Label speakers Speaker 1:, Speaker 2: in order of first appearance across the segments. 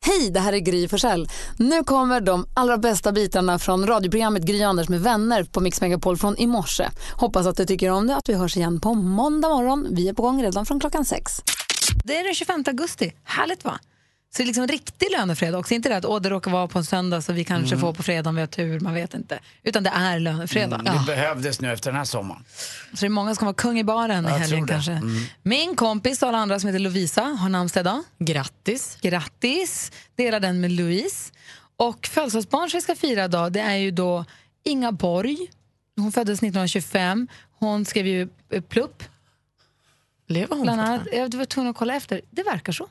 Speaker 1: Hej, det här är Gry Forssell. Nu kommer de allra bästa bitarna från radioprogrammet Gry Anders med vänner på Mix Megapol från i morse. Hoppas att du tycker om det att vi hörs igen på måndag morgon. Vi är på gång redan från klockan sex.
Speaker 2: Det är den 25 augusti. Härligt va? Så det är liksom en riktig lönefredag också. Inte det att åh, det råkar vara på en söndag så vi kanske
Speaker 3: Mm.
Speaker 2: får på fredag om vi har tur, man vet inte. Utan det är lönefredag.
Speaker 3: Mm, det
Speaker 2: Ja.
Speaker 3: behövdes nu efter den här sommaren.
Speaker 2: Så det är många som kommer vara kung i baren i
Speaker 3: Jag tror
Speaker 2: helgen
Speaker 3: det.
Speaker 2: kanske.
Speaker 3: Mm.
Speaker 2: Min kompis och alla andra som heter Lovisa har namnsdag idag. Grattis. Grattis. Dela den med Louise. Och födelsedagsbarn som vi ska fira idag det är ju då Inga Borg. Hon föddes 1925. Hon skrev ju eh, Plupp. Lever hon Bland annat. Jag var tvungen att kolla efter. Det verkar så.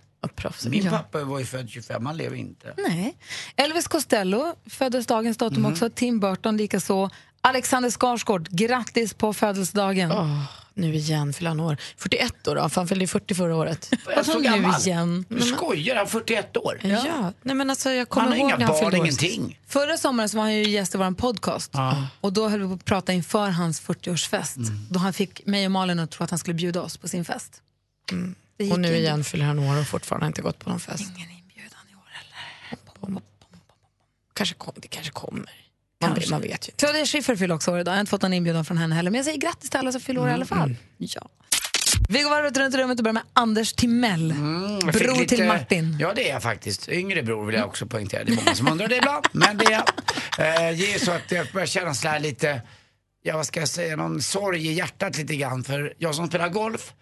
Speaker 3: Min
Speaker 2: Ja.
Speaker 3: pappa var ju född 25, han lever inte.
Speaker 2: Nej. Elvis Costello föddes dagens datum
Speaker 3: Mhm.
Speaker 2: också. Tim Burton likaså. Alexander Skarsgård, grattis på födelsedagen.
Speaker 4: Nu igen fyller han år. 41 år då, för han fyllde ju 40 förra året. Mm.
Speaker 2: Vadå så Alltså, nu gammal? igen? Mm.
Speaker 3: Du skojar, han är 41 år.
Speaker 4: Ja. Nej, men alltså, jag kommer
Speaker 3: Han har
Speaker 4: ihåg
Speaker 3: inga
Speaker 4: när han
Speaker 3: barn,
Speaker 4: fyllde år.
Speaker 3: ingenting.
Speaker 2: Förra sommaren så var han ju gäst i vår podcast.
Speaker 3: Ja. Mm.
Speaker 2: Och då höll vi på att prata inför hans 40-årsfest. Då han fick mig och Malin att tro att han skulle bjuda oss på sin fest. Det gick
Speaker 4: Mm. Och nu
Speaker 2: inte.
Speaker 4: igen fyller han år och fortfarande inte gått på någon fest. Ingen inbjudan i år eller? Kanske, kom, det kanske kommer. Man,
Speaker 2: Kanske.
Speaker 4: man vet ju.
Speaker 2: Claudia Schiffer fyller också år idag. Jag har inte fått någon inbjudan från henne heller. Men jag säger grattis till alla som fyller år i alla fall.
Speaker 3: Mm.
Speaker 2: Ja. Vi går varvet runt i rummet och börjar med Anders Timell.
Speaker 3: Mm, Jag fick
Speaker 2: Bror
Speaker 3: lite-
Speaker 2: till Martin.
Speaker 3: Ja, det är jag faktiskt. Yngre bror vill jag också poängtera. Det är många som undrar det ibland, men det är jag. Eh, det är så att jag börjar känna så här lite, ja vad ska jag säga, någon sorg i hjärtat lite grann. För jag som spelar golf,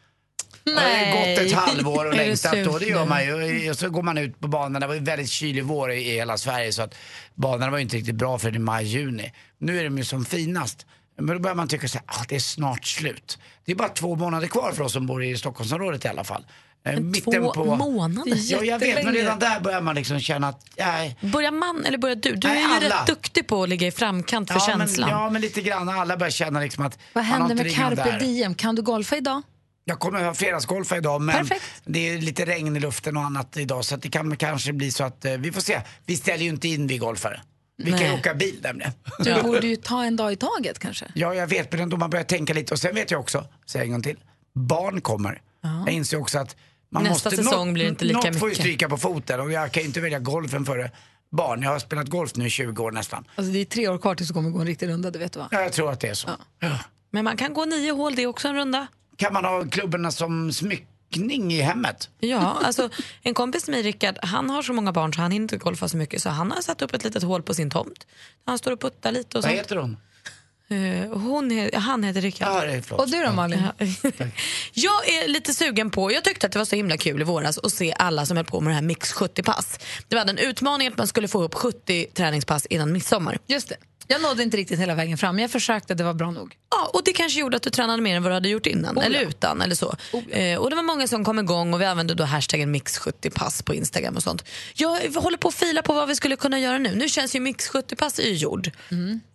Speaker 3: har
Speaker 2: Nej.
Speaker 3: ju gått ett halvår och
Speaker 2: Är det
Speaker 3: längtat och det gör
Speaker 2: surt
Speaker 3: man ju. Och så går man ut på banan, det var ju väldigt kylig vår i i hela Sverige så att banorna var ju inte riktigt bra för i maj-juni. Nu är de ju som finast. Men då börjar man tycka så här, ah, det är snart slut. Det är bara två månader kvar för oss som bor i Stockholmsområdet i alla fall. Eh,
Speaker 4: två månader?
Speaker 3: Ja, jag vet, men
Speaker 4: Jättelänge.
Speaker 3: redan där börjar man liksom känna att, nej.
Speaker 4: Börjar man eller börjar du? Du
Speaker 3: Nej,
Speaker 4: är ju
Speaker 3: alla.
Speaker 4: rätt duktig på att ligga i framkant för
Speaker 3: ja, men,
Speaker 4: känslan.
Speaker 3: ja, men lite grann. Alla börjar känna liksom att
Speaker 2: Vad
Speaker 3: man har
Speaker 2: händer
Speaker 3: inte
Speaker 2: med
Speaker 3: ringan
Speaker 2: carpe
Speaker 3: där.
Speaker 2: diem? Kan du golfa idag?
Speaker 3: Jag kommer att ha fredagsgolfa idag men
Speaker 2: Perfekt.
Speaker 3: det är lite regn i luften och annat idag så att det kan kanske bli så att eh, vi får se. Vi ställer ju inte in vi golfare. Vi kan
Speaker 2: Nej.
Speaker 3: ju åka bil nämligen.
Speaker 2: Du borde ju ta en dag i taget kanske.
Speaker 3: Ja jag vet men ändå man börjar tänka lite och sen vet jag också, säger jag en gång till, barn kommer. Jag inser också att man
Speaker 4: Nästa
Speaker 3: måste,
Speaker 4: säsong
Speaker 3: något,
Speaker 4: blir det inte lika
Speaker 3: något får ju
Speaker 4: mycket.
Speaker 3: stryka på foten och jag kan ju inte välja golfen före barn. Jag har spelat golf nu i 20 år nästan.
Speaker 2: Alltså, det är tre år kvar tills du kommer gå en riktig runda, det vet du va?
Speaker 3: Ja, jag tror att det är så. Ja.
Speaker 4: Men man kan gå nio hål, det är också en runda.
Speaker 3: Kan man ha klubborna som smyckning i hemmet?
Speaker 4: Ja, alltså en kompis till mig, Rickard, han har så många barn så han hinner inte golfa så mycket så han har satt upp ett litet hål på sin tomt. Han står och puttar lite och
Speaker 3: Vad
Speaker 4: sånt.
Speaker 3: heter hon?
Speaker 4: Eh, Hon he- han heter Rickard.
Speaker 3: Ja, det är förlåt.
Speaker 2: Och du då Malin?
Speaker 4: Jag är lite sugen på, jag tyckte att det var så himla kul i våras att se alla som höll på med det här Mix 70-pass. Det var en utmaning att man skulle få upp 70 träningspass innan midsommar.
Speaker 2: Just det. Jag nådde inte riktigt hela vägen fram, men jag försökte, det var bra nog.
Speaker 4: Ja, och det kanske gjorde att du tränade mer än vad du hade gjort innan, eller utan eller så. Eh, och det var många som kom igång och vi använde då hashtaggen mix70pass på Instagram och sånt. Jag håller på att fila på vad vi skulle kunna göra nu. Nu känns ju mix70pass är ju gjord.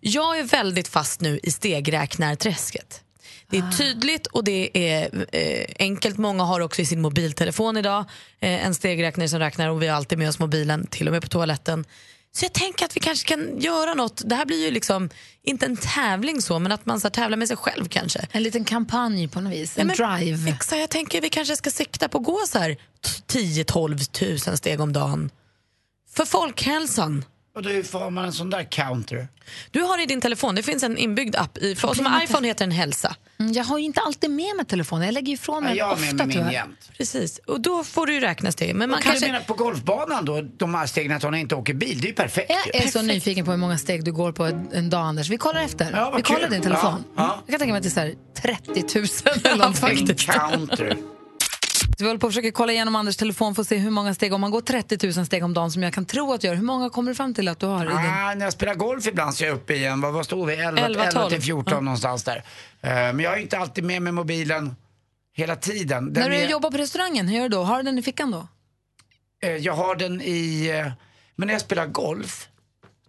Speaker 4: Jag är väldigt fast nu i stegräknarträsket. Det är tydligt och det är eh, enkelt. Många har också i sin mobiltelefon idag eh, en stegräknare som räknar och vi har alltid med oss mobilen, till och med på toaletten. Så jag tänker att vi kanske kan göra något. Det här blir ju liksom inte en tävling så, men att man så här, tävlar med sig själv kanske.
Speaker 2: En liten kampanj på något vis, en
Speaker 4: Nej, men
Speaker 2: drive.
Speaker 4: Exakt, jag tänker vi kanske ska sikta på att gå så här 10-12 tusen steg om dagen. För folkhälsan.
Speaker 3: Och då får man en sån där counter.
Speaker 4: Du har i din telefon, det finns en inbyggd app. I, för oss som har iPhone heter den Hälsa.
Speaker 2: Mm, jag har ju inte alltid med mig telefonen, jag lägger ju ifrån mig
Speaker 3: Men
Speaker 2: den
Speaker 3: jag har
Speaker 2: ofta
Speaker 3: med mig min
Speaker 2: tyvärr.
Speaker 3: jämt.
Speaker 4: Precis, och då får du ju räkna steg. Men man
Speaker 3: Man kan
Speaker 4: kanske...
Speaker 3: du mena på golfbanan då, de här stegen att hon inte åker bil, det är ju perfekt
Speaker 2: Jag är
Speaker 3: ju.
Speaker 2: så nyfiken på hur många steg du går på en en dag, Anders. Vi kollar efter.
Speaker 3: Ja, vad
Speaker 2: Vi kollar
Speaker 3: kul.
Speaker 2: din telefon.
Speaker 3: Ja, ja.
Speaker 2: Jag kan tänka mig att det är så här 30 000 eller
Speaker 4: Ja,
Speaker 2: någonting.
Speaker 3: En counter.
Speaker 2: Så vi håller på att försöka kolla igenom Anders telefon för att se hur många steg, om man går 30 000 steg om dagen som jag kan tro att du gör, hur många kommer du fram till att du har i din?
Speaker 3: Ah, när jag spelar golf ibland så är jag uppe i en, vad, vad står vi, 11,
Speaker 4: 11,
Speaker 3: 11,
Speaker 4: 12.
Speaker 3: till 14 någonstans där. Eh, men jag är ju inte alltid med mig mobilen hela tiden. Den
Speaker 2: När du
Speaker 3: är,
Speaker 2: jobbar på restaurangen, hur gör du då? Har du den i fickan då?
Speaker 3: eh, jag har den i, eh, men när jag spelar golf,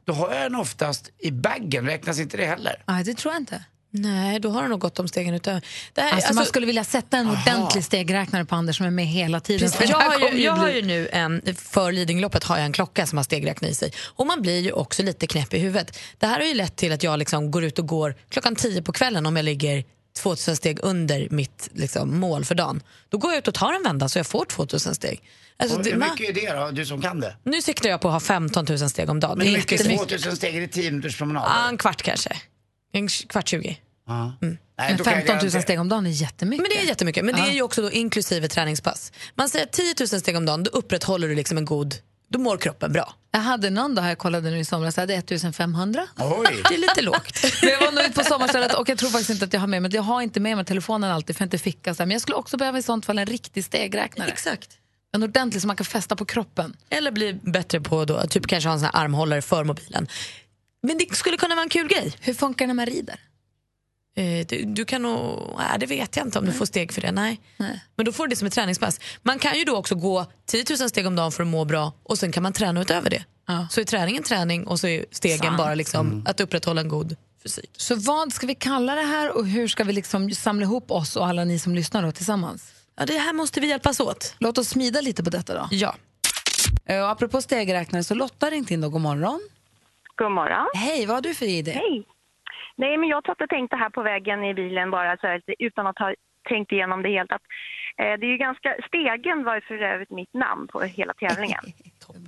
Speaker 3: då har jag den oftast i baggen, räknas inte det heller?
Speaker 2: Nej, det tror jag inte.
Speaker 4: Nej, då har du nog gått om stegen utöver. Det här,
Speaker 2: Alltså, man
Speaker 4: alltså-
Speaker 2: skulle vilja sätta en ordentlig stegräknare på Anders som är med hela tiden.
Speaker 4: Precis,
Speaker 2: För
Speaker 4: jag,
Speaker 2: det här
Speaker 4: har
Speaker 2: kommer
Speaker 4: ju, jag
Speaker 2: bli-
Speaker 4: har ju nu en, för Lidingöloppet har jag en klocka som har stegräknare i sig. Och man blir ju också lite knäpp i huvudet. Det här har ju lett till att jag liksom går ut och går klockan tio på kvällen om jag ligger 2000 steg under mitt liksom, mål för dagen. Då går jag ut och tar en vända så jag får 2000 steg. Alltså,
Speaker 3: Och
Speaker 4: det,
Speaker 3: hur
Speaker 4: va?
Speaker 3: mycket är det då, du som kan det?
Speaker 4: Nu siktar jag på att ha 15 000 steg om dagen.
Speaker 3: Men hur mycket är
Speaker 4: jättemycket.
Speaker 3: 2000 steg? Är det 10 minuters promenad?
Speaker 4: Ja, en kvart kanske. En kvart 20.
Speaker 3: Ja. Nej,
Speaker 2: Men
Speaker 3: då kan jag
Speaker 2: 15 000
Speaker 3: garantera-
Speaker 2: steg om dagen är jättemycket.
Speaker 4: Men det är jättemycket. Men det är ju också då inklusive träningspass. Man säger att 10 000 steg om dagen, då upprätthåller du liksom en god... Då mår kroppen bra.
Speaker 2: Jag hade någon dag, jag kollade nu i somras, jag hade 1500.
Speaker 3: Oj!
Speaker 4: Det är lite lågt.
Speaker 2: Men jag var nog ute på sommarstället och jag tror faktiskt inte att jag har med mig, jag har inte med mig telefonen alltid för jag inte ficka. Så här. Men jag skulle också behöva i sånt fall en riktig stegräknare.
Speaker 4: Exakt.
Speaker 2: En ordentlig som man kan fästa på kroppen.
Speaker 4: Eller bli bättre på då, typ kanske ha en sån här armhållare för mobilen. Men det skulle kunna vara en kul grej.
Speaker 2: Hur funkar det när man rider?
Speaker 4: Eh, Du, du kan nog, nej, det vet jag inte om du får steg för det. Nej.
Speaker 2: Nej.
Speaker 4: Men då får du det som ett träningspass. Man kan ju då också gå 10 000 steg om dagen för att må bra och sen kan man träna utöver det.
Speaker 2: Ja.
Speaker 4: Så är träningen träning och så är stegen
Speaker 2: Sant.
Speaker 4: bara liksom att upprätthålla en god fysik.
Speaker 2: Så vad ska vi kalla det här och hur ska vi liksom samla ihop oss och alla ni som lyssnar då tillsammans?
Speaker 4: Ja, det här måste vi hjälpas åt.
Speaker 2: Låt oss smida lite på detta då.
Speaker 4: Ja.
Speaker 2: Eh, Och apropå stegräknare så Lotta ringt in då, god morgon.
Speaker 5: God morgon.
Speaker 2: Hej, vad har du för idé?
Speaker 5: Hej. Nej, men jag satt och tänkte här på vägen i bilen bara så här, lite utan att ha tänkt igenom det helt. Att, eh, det är ju ganska, stegen var ju för övrigt mitt namn på hela tävlingen.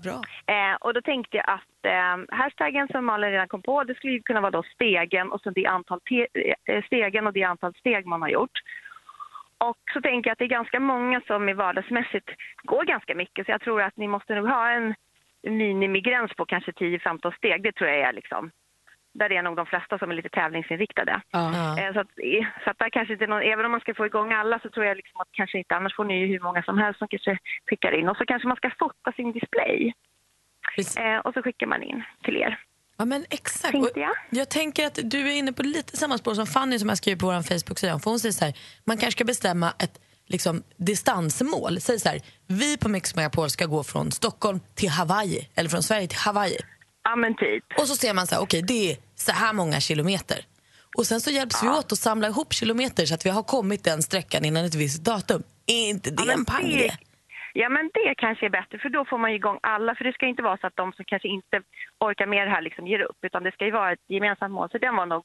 Speaker 2: Bra.
Speaker 5: Eh, och då tänkte jag att eh, hashtaggen som Malin redan kom på, det skulle ju kunna vara då stegen och så det antal te- eh, stegen och det antal steg man har gjort. Och så tänker jag att det är ganska många som i vardagsmässigt går ganska mycket så jag tror att ni måste nog ha en minimigräns på kanske 10-15 steg, det tror jag är liksom. Där är nog de flesta som är lite tävlingsinriktade.
Speaker 4: Ja.
Speaker 5: Eh, Så att, eh, så att där kanske inte någon, även om man ska få igång alla så tror jag liksom att kanske inte, annars får ni ju hur många som helst som kanske skickar in. Och så kanske man ska fota sin display.
Speaker 4: Precis.
Speaker 5: Eh, och så skickar man in till er.
Speaker 4: Ja, men exakt.
Speaker 5: Tänkte jag.
Speaker 4: Och jag tänker att du är inne på lite samma spår som Fanny som jag skriver på vår Facebook-sida. För hon säger så här, man kanske ska bestämma ett liksom, distansmål. Säg så här, vi på Mix Megapol ska gå från Stockholm till Hawaii, eller från Sverige till Hawaii.
Speaker 5: Ja, men typ.
Speaker 4: Och så ser man så här, okej det är så här många kilometer. Och sen så hjälps vi åt att samla ihop kilometer så att vi har kommit den sträckan innan ett visst datum. Är inte det
Speaker 5: Ja, men
Speaker 4: en pang
Speaker 5: det-
Speaker 4: idé?
Speaker 5: Ja, men det kanske är bättre, för då får man ju igång alla. För det ska inte vara så att de som kanske inte orkar med det här liksom ger upp, utan det ska ju vara ett gemensamt mål. Så den var nog...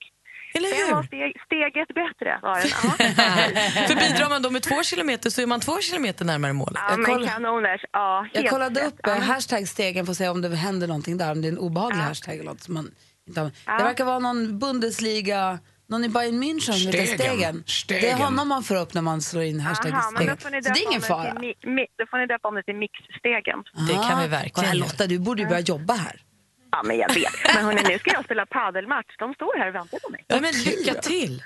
Speaker 4: Eller
Speaker 5: Den var
Speaker 4: hur?
Speaker 5: steg, steget bättre, var den. Ja,
Speaker 4: För bidrar man då med två kilometer så är man två kilometer närmare målet.
Speaker 5: ja men
Speaker 2: koll-
Speaker 5: kanoners. Ja,
Speaker 2: Jag
Speaker 5: helt
Speaker 2: kollade
Speaker 5: rätt.
Speaker 2: upp eh, hashtag-stegen för att se om det händer någonting där, om det är en obehaglig hashtag eller något som man inte har. Det verkar vara någon Bundesliga, någon i Bayern München som heter
Speaker 3: Stegen.
Speaker 2: stegen.
Speaker 3: Stegen.
Speaker 2: Det är honom man får upp när man slår in hashtag
Speaker 5: Aha, men då
Speaker 2: stegen.
Speaker 5: får ni
Speaker 2: Så det
Speaker 5: döpa
Speaker 2: är ingen
Speaker 5: om
Speaker 2: fara.
Speaker 5: till mi- mi- Då får ni döpa om det till mixstegen.
Speaker 4: Det kan vi
Speaker 2: Ah,
Speaker 4: verkligen
Speaker 2: kolla här,
Speaker 4: göra.
Speaker 2: Lotta, du borde ju börja jobba här.
Speaker 5: Ja, men jag vet. Men hörni, nu ska jag spela padelmatch. De står här och väntar på mig.
Speaker 4: Ja, men lycka till!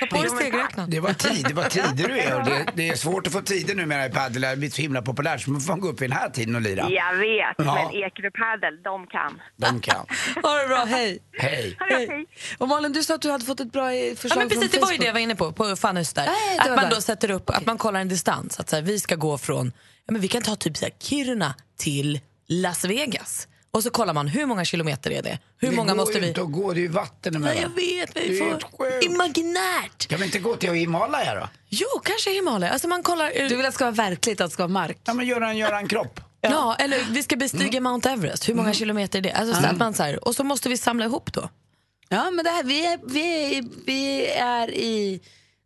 Speaker 4: Ta på dig stegräknaren.
Speaker 3: Det var tid, det var tider du är. Och det, det är svårt att få tider numera i padel. Det har blivit så himla populärt så man får fan gå upp i den här tiden och lira.
Speaker 5: Jag vet,
Speaker 3: Ja.
Speaker 5: men Ekerö Padel, de kan.
Speaker 3: De kan.
Speaker 2: Ha det bra, hej.
Speaker 3: Hej.
Speaker 5: Ha det bra, hej.
Speaker 2: Och Malin, du sa att du hade fått ett bra eh,
Speaker 4: Ja,
Speaker 2: förslag
Speaker 4: men precis, det
Speaker 2: från
Speaker 4: var ju
Speaker 2: Facebook.
Speaker 4: det jag var inne på, på Fannys där.
Speaker 2: Nej, det
Speaker 4: att
Speaker 2: var
Speaker 4: man
Speaker 2: där.
Speaker 4: då sätter upp, att man kollar en distans. Att så här, vi ska gå från, ja, men vi kan ta typ så här, Kiruna till Las Vegas. Och så kollar man, hur många kilometer är det? Hur
Speaker 3: det
Speaker 4: många
Speaker 3: går
Speaker 4: måste
Speaker 3: ju
Speaker 4: vi...
Speaker 3: inte att gå, det är ju vatten
Speaker 4: Nej, jag
Speaker 3: emellan.
Speaker 4: vet, men
Speaker 3: Det är
Speaker 4: vi får...
Speaker 3: helt sjukt.
Speaker 4: Imaginärt!
Speaker 3: Kan vi inte gå till Himalaya då?
Speaker 4: Jo, kanske Himalaya. Alltså man kollar... eh,
Speaker 2: Du vill att det ska vara verkligt, att det ska vara mark.
Speaker 3: Ja men göra en, göra en kropp.
Speaker 4: ja. eller vi ska bestiga Mount Everest. Hur många kilometer är det? Alltså, så att man så här, och så måste vi samla ihop då.
Speaker 2: Ja, men det här, vi, är, vi, är, vi är i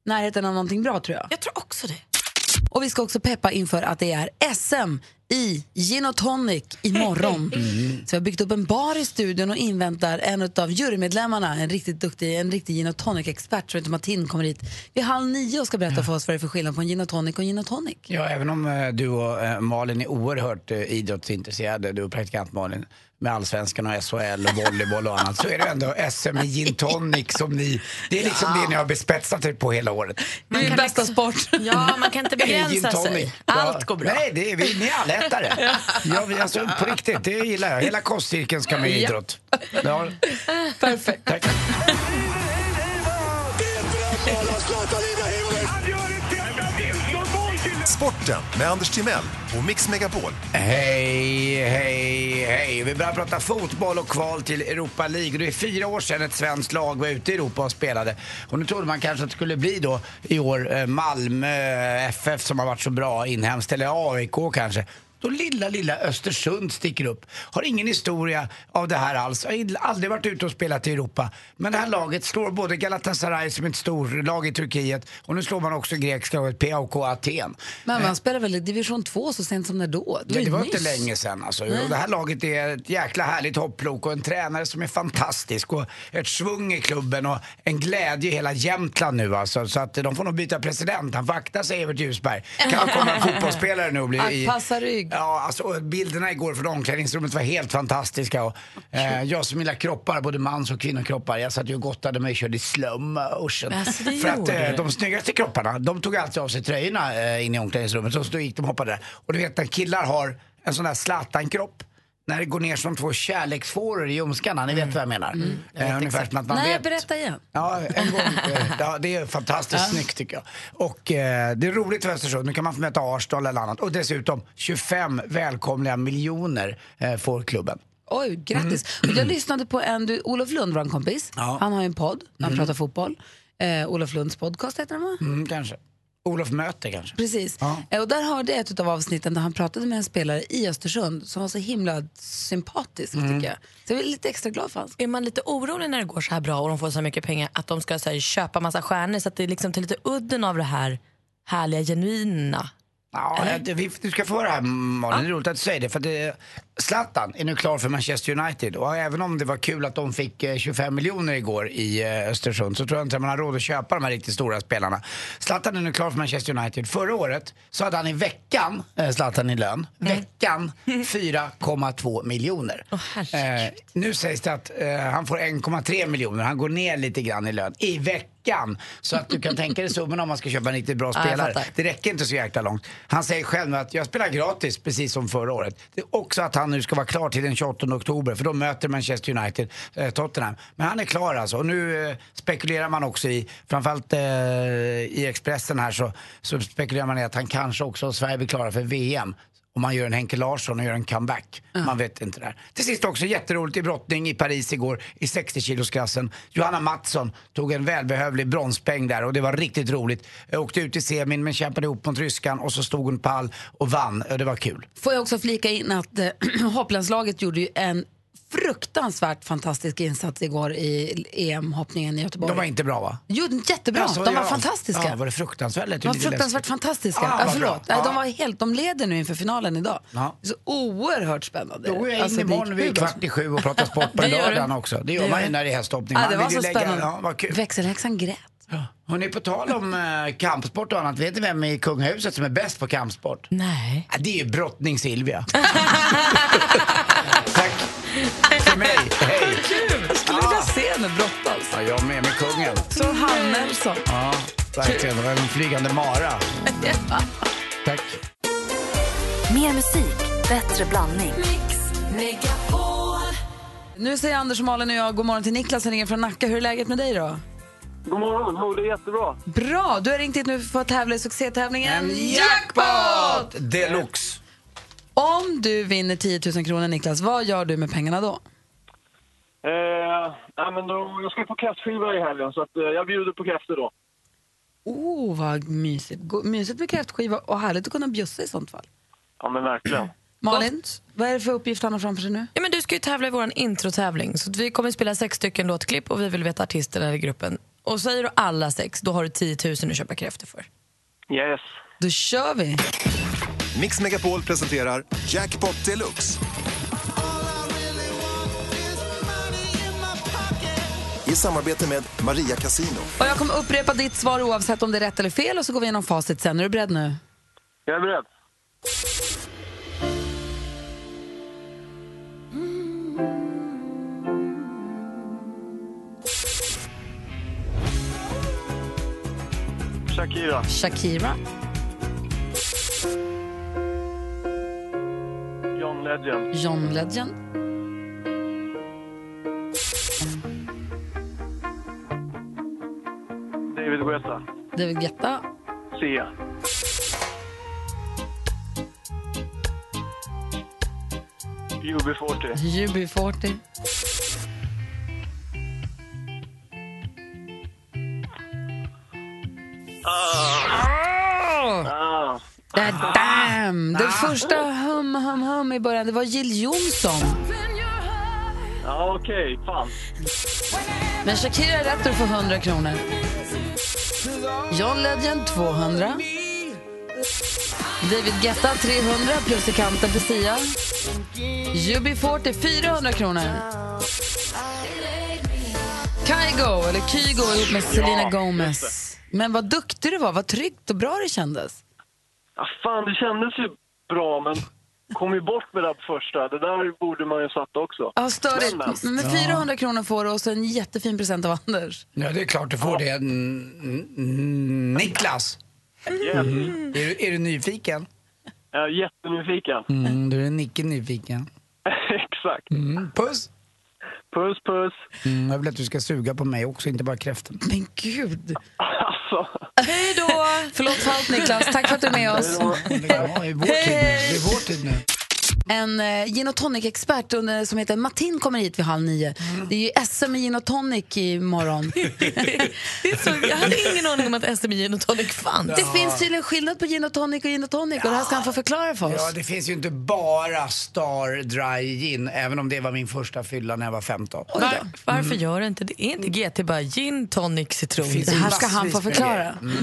Speaker 2: närheten av någonting bra tror jag.
Speaker 4: Jag tror också det.
Speaker 2: Och vi ska också peppa inför att det är SM i gin och tonic imorgon. Mm. Så vi har byggt upp en bar i studion och inväntar en av jurymedlemmarna, en riktigt duktig, en riktig gin och tonic-expert som heter Martin kommer hit vid halv nio och ska berätta för oss vad det är för skillnad på en gin och tonic och en gin och tonic.
Speaker 3: Ja, även om eh, du och eh, Malin är oerhört eh, idrottsintresserade, du och praktikant Malin, med allsvenskan och SHL och volleyboll och annat, så är det ändå SM i gin tonic som ni, det är liksom det ni har bespetsat er på hela året.
Speaker 2: Det är ju bästa sport.
Speaker 4: Ja, man kan inte
Speaker 3: Gin
Speaker 4: begränsa
Speaker 3: tonic.
Speaker 4: sig.
Speaker 3: Ja.
Speaker 4: Allt går bra.
Speaker 3: Nej, det är, vi, ni är allätare. ja, vi, alltså, på riktigt, det gillar jag. Hela kostcirkeln ska med i idrott. Ja. Perfekt. Tack.
Speaker 6: Sporten med Anders Timell och Mix Megapol.
Speaker 3: Hej, hej, hej. Vi börjar prata fotboll och kval till Europa League. Det är fyra år sedan ett svenskt lag var ute i Europa och spelade. Och nu trodde man kanske att det skulle bli då eh, i år eh, Malmö FF som har varit så bra inhemskt, eller AIK kanske. Då lilla, lilla Östersund sticker upp. Har ingen historia av det här alls. Har ill- aldrig varit ute och spelat i Europa. Men det här laget slår både Galatasaray som är ett storlag i Turkiet och nu slår man också grekiska laget PAOK Aten. Eh,
Speaker 2: Men man spelar väl i division 2 så sent som när då?
Speaker 3: Ja, det
Speaker 2: ju
Speaker 3: var
Speaker 2: nyss.
Speaker 3: inte länge sedan alltså. Och det här laget är ett jäkla härligt hopplok och en tränare som är fantastisk och ett svung i klubben och en glädje i hela Jämtland nu alltså. Så att de får nog byta president. Han får akta sig Evert Ljusberg. Kan komma en fotbollsspelare nu och bli... i-
Speaker 7: Anpassa rygg.
Speaker 3: Ja, alltså och bilderna igår från omklädningsrummet var helt fantastiska. Och, eh, jag som gillar kroppar, både mans och kvinnokroppar, jag satt ju och gottade mig och körde i slowmotion.
Speaker 4: Alltså, det
Speaker 3: För att
Speaker 4: gjorde
Speaker 3: eh,
Speaker 4: du.
Speaker 3: de snyggaste kropparna, de tog alltid av sig tröjorna eh, in i omklädningsrummet och så då gick de och hoppade där. Och du vet när killar har en sån där Zlatan-kropp, när det går ner som två kärleksfåror i ljumskarna, ni vet vad jag menar. Eh, ungefär som att man
Speaker 2: Nej,
Speaker 3: vet.
Speaker 2: berätta igen.
Speaker 3: Ja, en gång. eh, ja, det är fantastiskt snyggt tycker jag. Och eh, det är roligt för Östersund. Nu kan man få möta Arsenal eller annat. Och dessutom 25 välkomliga miljoner eh, får klubben.
Speaker 2: Oj, grattis. Och Jag lyssnade på en, du, Olof Lund, vår kompis.
Speaker 3: Mm. Ja.
Speaker 2: Han har ju en podd, där han pratar fotboll. Eh, Olof Lunds podcast heter den va?
Speaker 3: Mm, kanske. Olof möter kanske.
Speaker 2: Precis.
Speaker 3: Ja.
Speaker 2: Eh, Och där hörde jag ett av avsnitten där han pratade med en spelare i Östersund som var så himla sympatisk
Speaker 3: Mm.
Speaker 2: tycker jag. Så jag är lite extra glad för hans
Speaker 4: Är man lite orolig när det går så här bra och de får så här mycket pengar att de ska så här, köpa massa stjärnor så att det liksom tar lite udden av det här härliga, genuina?
Speaker 3: Ja, det- vi, du ska få höra det här Malin, det är roligt att du säger det. För att det, Zlatan är nu klar för Manchester United och även om det var kul att de fick eh, 25 miljoner igår i eh, Östersund så tror jag inte att man har råd att köpa de här riktigt stora spelarna. Zlatan är nu klar för Manchester United. Förra året så hade han i veckan, eh, Zlatan i lön, veckan 4,2 miljoner. eh, nu sägs det att eh, han får 1,3 miljoner, han går ner lite grann i lön i veckan. Så att du kan tänka dig summan om man ska köpa en riktigt bra
Speaker 4: Ja, jag
Speaker 3: spelare.
Speaker 4: fattar.
Speaker 3: Det räcker inte så jäkla långt. Han säger själv nu att jag spelar gratis precis som förra året. Det är också att han nu ska vara klar till den 28 oktober för då möter Manchester United eh, Tottenham. Men han är klar alltså. Och nu eh, spekulerar man också i, framförallt eh, i Expressen här så, så spekulerar man i att han kanske också, om Sverige blir klara för VM, om man gör en Henke Larsson och gör en comeback. Man vet inte det här. Till sist också jätteroligt i brottning i Paris igår i 60-kilosklassen. Johanna Mattsson tog en välbehövlig bronspeng där och det var riktigt roligt. Jag åkte ut i semin men kämpade ihop mot ryskan och så stod hon pall och vann. Eh, Det var kul.
Speaker 2: Får jag också flika in att eh, hopplandslaget gjorde ju en fruktansvärt fantastisk insats igår i EM-hoppningen i Göteborg.
Speaker 3: De var inte bra va?
Speaker 2: Jo, jättebra.
Speaker 3: Alltså, Ja, så
Speaker 2: de var
Speaker 3: gör
Speaker 2: fantastiska.
Speaker 3: Ja, var det fruktansvärt? Lät
Speaker 2: de
Speaker 3: ju
Speaker 2: var
Speaker 3: lite
Speaker 2: fruktansvärt
Speaker 3: läskigt.
Speaker 2: fantastiska.
Speaker 3: Ja, vad
Speaker 2: ja, förlåt.
Speaker 3: bra.
Speaker 2: Nej,
Speaker 3: Ja.
Speaker 2: De, var helt, de leder nu inför finalen idag.
Speaker 3: Ja.
Speaker 2: Så oerhört spännande.
Speaker 3: Då är jag
Speaker 2: Alltså,
Speaker 3: in
Speaker 2: det gick
Speaker 3: imorgon
Speaker 2: hur
Speaker 3: vid
Speaker 2: bra som-
Speaker 3: kvart i sju och pratar sport på
Speaker 4: Det gör
Speaker 3: lördagen
Speaker 4: du.
Speaker 3: också. Det gör
Speaker 2: Det
Speaker 3: man
Speaker 2: gör du.
Speaker 3: ju när det är hästhoppning.
Speaker 2: Ja,
Speaker 3: Man
Speaker 2: det
Speaker 3: vill
Speaker 2: var
Speaker 3: ju
Speaker 2: så
Speaker 3: lägga-
Speaker 2: spännande.
Speaker 3: Ja, vad kul.
Speaker 2: Växelhäxan grät.
Speaker 3: Hörrni, på tal om eh, kampsport och annat, vet ni vem i kungahuset som är bäst på kampsport?
Speaker 4: Nej.
Speaker 3: Ja, det är ju brottning Silvia. Tack för mig. Hej.
Speaker 2: Jag skulle vilja se henne brottas.
Speaker 3: Ja, jag med, med kungen.
Speaker 2: Så Hannelsson.
Speaker 3: Ja, verkligen. Det var en flygande mara. Tack.
Speaker 8: Mer musik, bättre blandning.
Speaker 2: Nu säger Anders, Malin och jag god morgon till Niklas som ringer från Nacka. Hur är läget med dig då?
Speaker 9: God morgon, jo det är jättebra.
Speaker 2: Bra! Du har ringt hit nu för att tävla i succétävlingen
Speaker 3: jackpot deluxe.
Speaker 2: Om du vinner 10 000 kronor, Niklas, vad gör du med pengarna då?
Speaker 9: Eh, ja, men då, jag ska på kräftskiva i helgen så att, eh, jag bjuder på kräftor då.
Speaker 2: Oh, vad mysigt. Go- Mysigt med kräftskiva och härligt att kunna bjussa i sånt fall.
Speaker 9: Ja men verkligen.
Speaker 2: Malin, vad är det för uppgift han har framför sig nu?
Speaker 4: Ja, men du ska ju tävla i vår introtävling. Så att vi kommer spela sex stycken låtklipp och vi vill veta artisterna i gruppen. Och säger du alla sex, då har du 10 000 att köpa kräftor för.
Speaker 9: Yes.
Speaker 2: Då kör vi!
Speaker 6: Mix Megapol presenterar Jackpot Deluxe. I samarbete med Maria Casino.
Speaker 2: Och jag kommer upprepa ditt svar oavsett om det är rätt eller fel och så går vi igenom facit sen. Är du beredd nu?
Speaker 9: Jag är beredd. Shakira,
Speaker 2: Shakira,
Speaker 9: John Legend,
Speaker 2: John Legend,
Speaker 9: David Guetta,
Speaker 2: David Guetta,
Speaker 9: Sia, UB40,
Speaker 2: UB40,
Speaker 9: ah,
Speaker 2: Da, damn. Det första hum, hum, hum i början, det var Jill Johnson.
Speaker 10: Ja, okej. fan.
Speaker 2: Men Shakira är rätt och du får 100 kronor. John Legend 200. David Guetta 300 plus i kanten för Sia. UB40 400 kronor. Kygo, eller Kygo ihop med Selena Gomez. Men vad duktig du var, vad tryggt och bra det kändes.
Speaker 10: Ja, fan, det kändes ju bra, men kom ju bort med det där första. Det där borde man ju satt också.
Speaker 2: Ja, störigt.
Speaker 10: Men, alltså. men.
Speaker 2: Men 400 kronor får du och så en jättefin present av Anders.
Speaker 3: Ja, det är klart du får det. Mm, mm, Niklas, Mhm.
Speaker 10: Yes.
Speaker 3: är du, är du nyfiken?
Speaker 10: Jag är jättenyfiken.
Speaker 3: Mm, du är Nicke nyfiken.
Speaker 10: Exakt.
Speaker 3: Mm, puss!
Speaker 10: Puss, puss.
Speaker 3: Mm, jag vill att du ska suga på mig också, inte bara kräften.
Speaker 2: Men gud!
Speaker 10: Alltså,
Speaker 2: Hej då! Förlåt för allt Niklas, tack för att du är med oss.
Speaker 3: Ja, det är vår tid nu. Det är vår tid nu.
Speaker 2: En eh, gin och tonic-expert under- som heter Martin kommer hit vid halv nio. Det är ju SM i gin och tonic imorgon.
Speaker 4: Det är så, jag hade ingen aning om att SMI och tonic fanns.
Speaker 2: Det finns tydligen skillnad på gin och tonic och gin och tonic och det här ska han få förklara för
Speaker 3: Ja,
Speaker 2: oss.
Speaker 3: det finns ju inte bara Star Dry Gin, även om det var min första fylla när jag var Mm. 15.
Speaker 4: Var, varför gör det inte det? Är inte GT bara gin, tonic, citron?
Speaker 3: finns
Speaker 2: Mm. Det här ska han
Speaker 3: massvis
Speaker 2: få
Speaker 3: med
Speaker 2: förklara.
Speaker 3: Mm.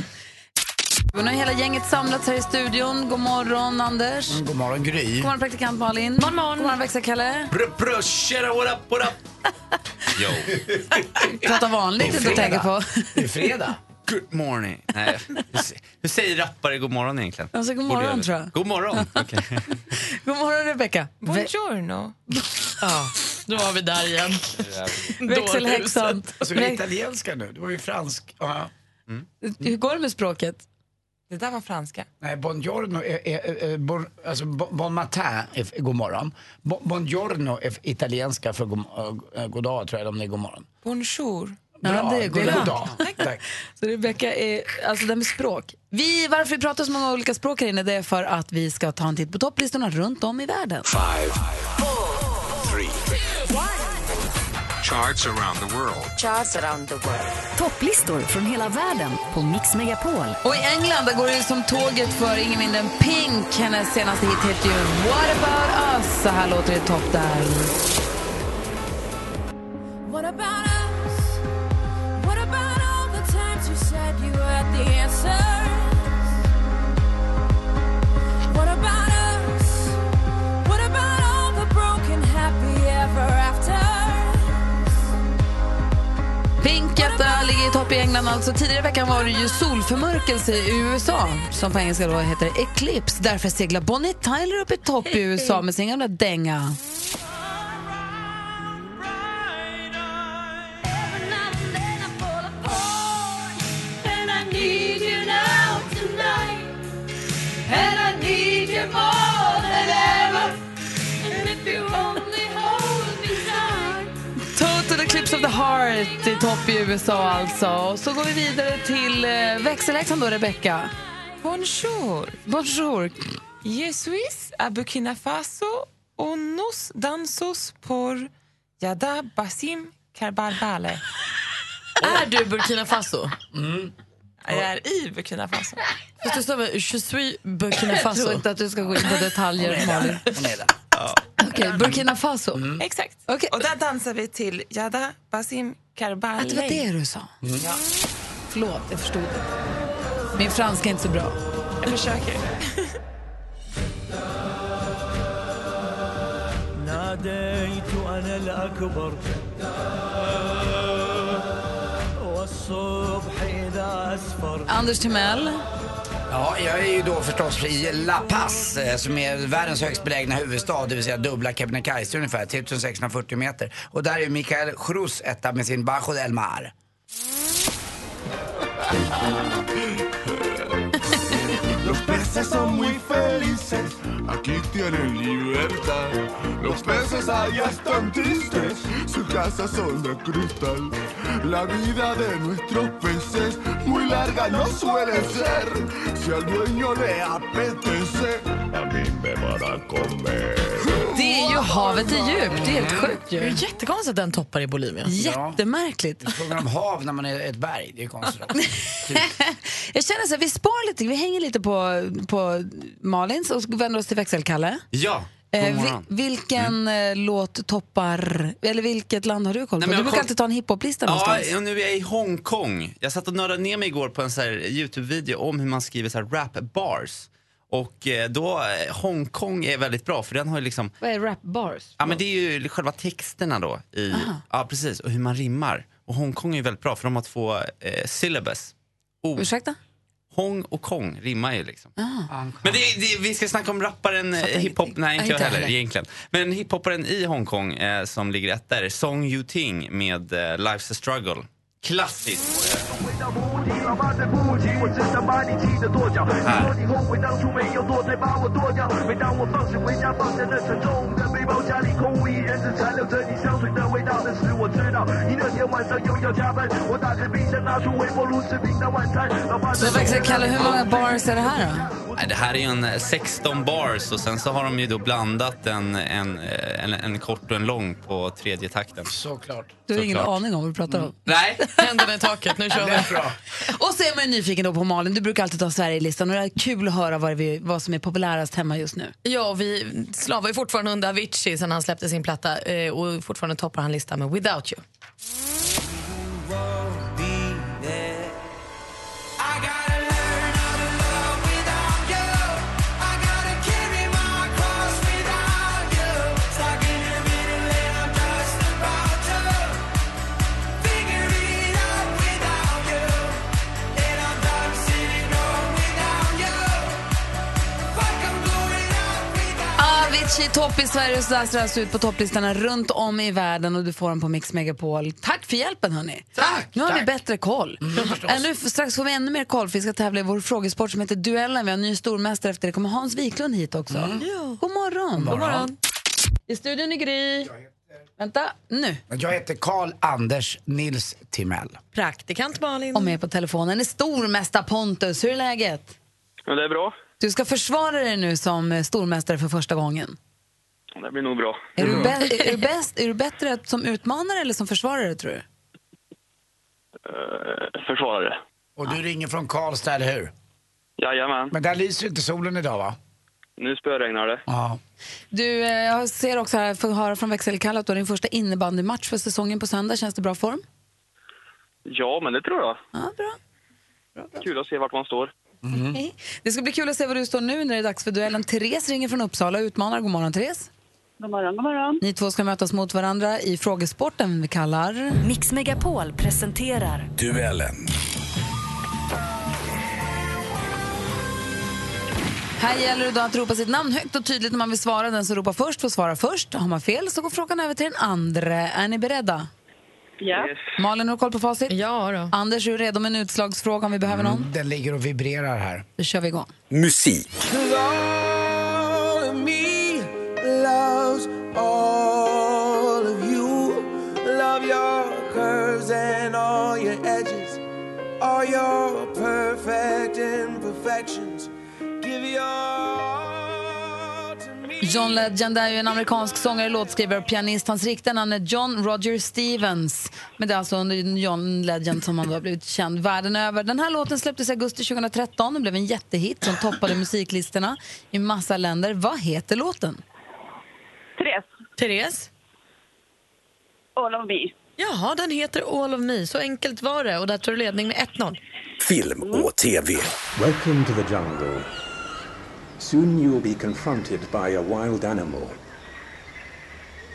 Speaker 2: Och nu är hela gänget samlats här i studion. God morgon Anders. God
Speaker 3: Mm, God morgon Gry.
Speaker 2: morgon praktikant Malin. God morgon, God morgon växelkalle.
Speaker 11: Yo,
Speaker 2: Prata vanligt, inte tänka på.
Speaker 3: Det är fredag.
Speaker 11: good morning. Nej, hur sä- hur säger rappare god morgon egentligen?
Speaker 2: Alltså, god
Speaker 11: Borde
Speaker 2: morgon,
Speaker 11: jag-
Speaker 2: tror jag.
Speaker 11: God morgon. Okej.
Speaker 2: God morgon Rebecka.
Speaker 4: Buongiorno. Ja, då var vi där igen.
Speaker 2: Växelhäxan.
Speaker 3: Alltså, är det italienska nu? Det var ju fransk. Ja.
Speaker 10: Mm.
Speaker 2: Hur går det med språket?
Speaker 4: Det där var franska.
Speaker 3: Nej, buongiorno är, är, är, bon, alltså, bon bon matin är f- god morgon. Bon, buongiorno är f- italienska för god, äh, god dag, tror jag, om det är god morgon.
Speaker 4: Bonjour.
Speaker 2: Ja, det är god dag.
Speaker 3: dag. Tack.
Speaker 2: Så Rebecka är, alltså det här med språk. Vi, varför vi pratar så många olika språk här inne det är för att vi ska ta en titt på topplistorna runt om i världen.
Speaker 12: Charts around the world.
Speaker 13: Topplistor från hela världen på Mix Megapol.
Speaker 2: Och i England där går det som tåget för ingen mindre än Pink. Hennes senaste hit heter ju What about us? Så här låter det i topp där.
Speaker 9: What about us? What about all the times you said you had the answers? What about us? What about all the broken happy ever after?
Speaker 2: Pink jätta ligger i topp i England. Alltså, tidigare i veckan var det ju solförmörkelse i USA som på engelska då heter Eclipse. Därför seglar Bonnie Tyler upp i topp i USA med sin gamla dänga.
Speaker 9: Every now and then I fall apart, and I need you now tonight, and I need you more than ever. And if you only hold me tight.
Speaker 2: Total Eclipse of the Heart i topp i USA alltså. Och så går vi vidare till eh, växelhäxan då, Rebecca.
Speaker 9: Bonjour.
Speaker 2: Bonjour.
Speaker 9: Je suis à Burkina Faso och nos dansos por Yada Basim Karbarbale.
Speaker 4: Är du Burkina Faso?
Speaker 9: Jag är i Burkina Faso.
Speaker 4: Fast du sa väl je suis Burkina
Speaker 2: Jag tror
Speaker 4: Faso?
Speaker 2: inte att du ska gå in på detaljer, Malin.
Speaker 3: Hon är där.
Speaker 2: Okej, Burkina Faso.
Speaker 9: Exakt.
Speaker 2: Okej.
Speaker 9: Och där dansar vi till Yada Basim Karbale.
Speaker 2: Att det var det du sa? Ja. Förlåt, jag förstod inte. Min franska är inte så bra.
Speaker 9: Jag försöker.
Speaker 2: Anders Timell.
Speaker 3: Ja, jag är ju då förstås i La Paz eh, som är världens högst belägna huvudstad, det vill säga dubbla Kebnekaise ungefär, 3640 meter. Och där är Mikael Cruz etta med sin Bajo del Mar.
Speaker 12: Los peces son muy felices. Aquí tienen libertad. Los peces allá están tristes. Sus casas son de cristal. La vida de nuestros peces muy larga no suele ser. Si al dueño le apetece, a mí me van a comer.
Speaker 2: Det är ju havet i djup. Det är helt sjukt
Speaker 4: Det
Speaker 2: ju.
Speaker 4: är jättekonstigt att den toppar i Bolivia.
Speaker 2: Jättemärkligt.
Speaker 3: Frågan om hav när man är ett berg, det är konstigt.
Speaker 2: Jag känner så här, vi spar lite, vi hänger lite på på, på Malins och vänder oss till växelkalle.
Speaker 11: Ja,
Speaker 2: Eh,
Speaker 11: god
Speaker 2: vi,
Speaker 11: morgon.
Speaker 2: vilken eh, låt toppar, eller vilket land har du koll på?
Speaker 11: Nej, men
Speaker 2: du
Speaker 11: jag
Speaker 2: brukar
Speaker 11: kom-
Speaker 2: alltid ta en hiphoplista
Speaker 11: Ja,
Speaker 2: någonstans.
Speaker 11: och nu är jag i Hongkong. Jag satt och nördade ner mig igår på en så här Youtube-video om hur man skriver så här rap bars. Och eh, då, eh, Hongkong är väldigt bra för den har ju liksom,
Speaker 2: Vad är rap bars?
Speaker 11: ja men det är ju själva texterna då. I, ja precis, och hur man rimmar. Och Hongkong är ju väldigt bra för de har två eh, syllabus. O.
Speaker 2: Ursäkta?
Speaker 11: Hong och Kong rimmar ju liksom.
Speaker 2: Ah.
Speaker 11: Men det, det, vi ska snacka om rapparen, eh, hiphop, nej inte jag heller egentligen. Men hiphopparen i Hongkong eh, som ligger ett där, Song Yu-Ting med eh, Life's a Struggle. Klassiskt. eh,
Speaker 14: 老爸在不急，我真想把你气得跺脚。你说你后悔当初没有多再把我剁掉。每当我放学回家，放下那沉重的背包，家里空无一人，只残留着你香水的味道。那时我知道，你那天晚上又要加班。我打开冰箱，拿出微波炉吃平淡晚餐。老爸
Speaker 2: Så växelkalle, hur många bars är det här då?
Speaker 11: Nej, Det här är ju en eh, 16 bars och sen så har de ju då blandat en, en, eh, en, en kort och en lång på tredje takten.
Speaker 3: Såklart.
Speaker 2: Du har ingen
Speaker 11: Såklart.
Speaker 2: aning om vad du pratar om.
Speaker 11: Nej.
Speaker 4: Händerna i taket, nu kör vi.
Speaker 2: Och så är man ju nyfiken då på Malin, du brukar alltid ta Sverigelistan och det är kul att höra vad, vi, vad som är populärast hemma just nu.
Speaker 4: Ja, vi slavar ju fortfarande under Avicii sen han släppte sin platta eh, och fortfarande toppar han listan med Without You.
Speaker 2: Avicii topp i Sverige och så där ser det alltså ut på topplistorna runt om i världen och du får den på Mix Megapol. Tack för hjälpen hörni. Tack! Nu har ni bättre koll. Äh, nu f- strax får vi ännu mer koll för vi ska tävla i vår frågesport som heter Duellen. Vi har en ny stormästare efter det kommer Hans Wiklund hit också. Mm. God morgon.
Speaker 3: God morgon.
Speaker 2: I studion är Gry. Vänta, nu.
Speaker 3: Jag heter Karl Anders Nils Timell.
Speaker 4: Praktikant Malin.
Speaker 2: Och med på telefonen är stormästare Pontus. Hur är läget?
Speaker 15: Men det är bra.
Speaker 2: Du ska försvara dig nu som eh, stormästare för första gången.
Speaker 15: Det blir nog bra.
Speaker 2: Är, du, bä- är, du, bäst, är du bättre som utmanare eller som försvarare tror du?
Speaker 15: Eh, försvarare.
Speaker 3: Och du ringer från Karlstad, eller hur?
Speaker 15: Ah. Jajamän.
Speaker 3: Men där lyser inte solen idag, va?
Speaker 15: Nu spöregnar det.
Speaker 3: Ja.
Speaker 2: Du, eh, jag ser också här, får höra från växelkallat att du har din första innebandymatch för säsongen på söndag. Känns det bra form?
Speaker 15: Ja, men det tror jag.
Speaker 2: Ja, bra.
Speaker 15: Kul att se vart man står.
Speaker 2: Hej. Det ska bli kul att se var du står nu när det är dags för duellen. Therese ringer från Uppsala och utmanar. God morgon, Therese. God morgon, god morgon. Ni två ska mötas mot varandra i frågesporten vi kallar...
Speaker 13: Mix Megapol presenterar
Speaker 16: Duellen.
Speaker 2: Här gäller det då att ropa sitt namn högt och tydligt när man vill svara. Den som ropar först får svara först. Har man fel så går frågan över till den andra. Är ni beredda?
Speaker 15: Ja.
Speaker 2: Malin, har du koll på facit?
Speaker 4: Ja då.
Speaker 2: Anders, är du redo med en utslagsfråga om vi behöver någon?
Speaker 3: Den ligger och vibrerar här.
Speaker 2: Då kör vi igång.
Speaker 16: Musik.
Speaker 9: All of me loves all of you. Love your curves and all your edges, all your perfect imperfections. Give your
Speaker 4: Mm.
Speaker 2: John Legend är ju en amerikansk sångare, låtskrivare och pianist. Hans riktiga namn är John Roger Stevens. Men det är alltså under John Legend som han då har blivit känd världen över. Den här låten släpptes i augusti 2013. Den blev en jättehit som toppade musiklistorna i massa länder. Vad heter låten?
Speaker 4: Therese. Therese. All of me. Jaha, den heter All of me. Så enkelt var det. Och där tar du ledning med 1-0.
Speaker 16: Film och TV.
Speaker 17: Welcome to the jungle. Soon you will be confronted by a wild animal.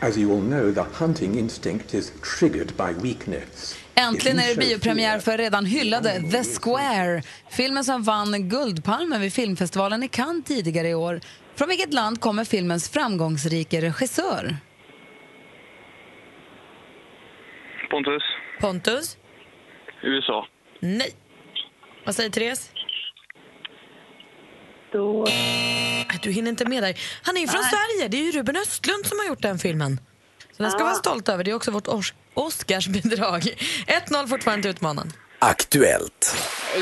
Speaker 17: As you all know, the hunting instinct is triggered by weakness.
Speaker 2: Äntligen
Speaker 17: If
Speaker 2: är
Speaker 17: you
Speaker 2: det
Speaker 17: show
Speaker 2: biopremiär för redan hyllade The Square. Filmen som vann Guldpalmen vid filmfestivalen i Cannes tidigare i år. Från vilket land kommer filmens framgångsrike regissör?
Speaker 15: Pontus,
Speaker 4: Pontus.
Speaker 15: USA.
Speaker 4: Nej. Vad säger Therese? Nej, Du hinner inte med där. Han är ju från Sverige. Det är ju Ruben Östlund som har gjort den filmen. Så den ska
Speaker 2: Ah.
Speaker 4: vara stolt över. Det är också vårt Os- Oscarsbidrag. 1-0 fortfarande till utmanaren.
Speaker 16: Aktuellt.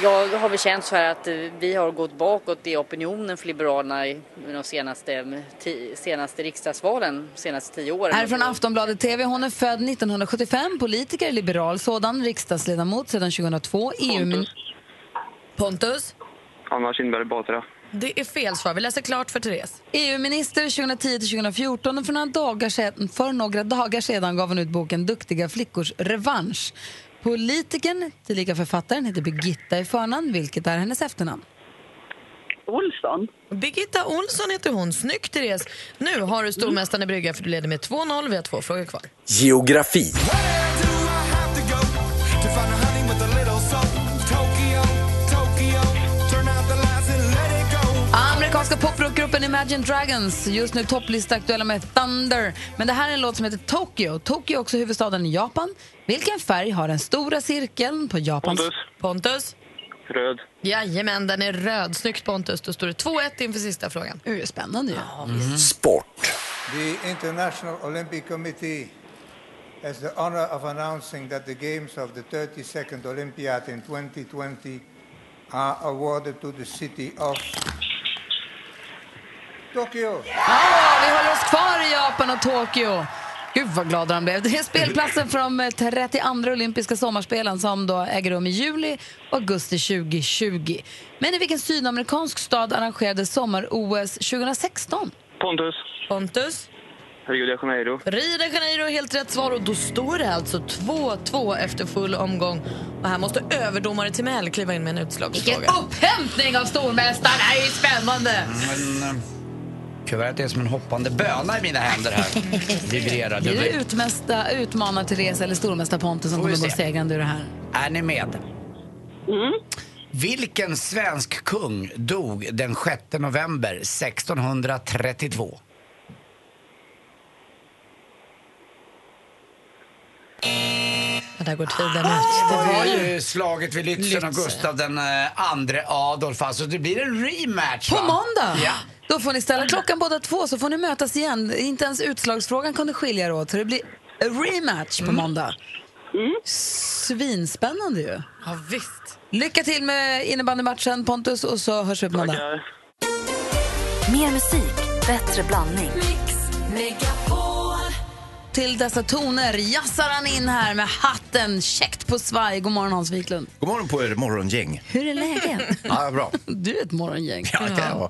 Speaker 18: Jag har väl känt så här att eh, vi har gått bakåt i opinionen för Liberalerna i de senaste, eh, ti, senaste riksdagsvalen, senaste tio åren.
Speaker 2: Här från Aftonbladet TV. Hon är född 1975, politiker, liberal sådan, riksdagsledamot sedan 2002. EU E Pontus.
Speaker 4: Pontus?
Speaker 15: Anna Kinberg Batra.
Speaker 4: Det är fel svar. Vi läser klart för Therese.
Speaker 2: E EU-minister 2010-2014 och för några, dagar sedan, för några dagar sedan gav hon ut boken Duktiga flickors revansch. Politikern, tillika författaren, heter Birgitta i förnamn, vilket är hennes efternamn.
Speaker 4: Olsson. Birgitta Olsson heter hon. Snyggt, Therese. Nu har du stormästaren i brygga för du leder med 2-0. Vi har två frågor kvar.
Speaker 16: Geografi.
Speaker 2: Amerikanska poprockgruppen Imagine Dragons, just nu topplistaaktuella med Thunder. Men det här är en låt som heter Tokyo. Tokyo är också huvudstaden i Japan. Vilken färg har den stora cirkeln på Japans...
Speaker 15: Pontus.
Speaker 4: Pontus.
Speaker 15: Röd.
Speaker 4: Jajamän, den är röd. Snyggt Pontus. Då står det 2-1 inför sista frågan.
Speaker 2: Det är spännande ju.
Speaker 16: Sport.
Speaker 19: The International Olympic Committee has the honor of announcing that the games of the 32nd Olympiad in 2020 are awarded to the city of Tokyo.
Speaker 2: Ja, vi håller oss kvar i Japan och Tokyo. Gud vad glada de blev. Det är spelplatsen för de 32 olympiska sommarspelen som då äger rum i juli och augusti 2020. Men i vilken sydamerikansk stad arrangerades sommar-OS 2016?
Speaker 15: Pontus.
Speaker 4: Pontus.
Speaker 15: Rio de Janeiro.
Speaker 4: Rio de Janeiro är helt rätt svar och då står det alltså 2-2 efter full omgång. Och här måste överdomare Timell kliva in med en utslagsfråga.
Speaker 2: Vilken upphämtning av stormästaren! Det här är ju spännande!
Speaker 3: Men, eh, kuvertet är som en hoppande böna i mina händer här. Vibrerar.
Speaker 2: Blir det
Speaker 3: dubbel.
Speaker 2: utmästa, utmanar Therese eller stormästare Pontus som
Speaker 3: Får vi
Speaker 2: kommer gå
Speaker 3: se.
Speaker 2: segrande ur det här?
Speaker 3: Är ni med? Vilken svensk kung dog den 6 november 1632?
Speaker 4: Ja, där går tiden ut.
Speaker 3: Det
Speaker 4: Det
Speaker 3: var
Speaker 4: var ju...
Speaker 3: ju slaget vid Lützen och
Speaker 4: Lützen.
Speaker 3: Gustav den eh, andre Adolf. Alltså det blir en rematch
Speaker 2: På
Speaker 3: va?
Speaker 2: måndag!
Speaker 3: Ja.
Speaker 2: Då får ni ställa klockan båda två så får ni mötas igen. Inte ens utslagsfrågan kunde skilja er åt så det blir a rematch på måndag. Svinspännande ju.
Speaker 4: Ja, visst.
Speaker 2: Lycka till med innebandymatchen Pontus och så hörs vi på måndag.
Speaker 13: Mer musik, bättre blandning.
Speaker 2: Till dessa toner jassar han in här med hatten käckt på svaj. God morgon Hans Wiklund.
Speaker 20: God morgon på er morgongäng.
Speaker 2: Hur är läget?
Speaker 20: Ja, bra.
Speaker 2: Du är ett morgongäng.
Speaker 20: Ja, det kan jag vara.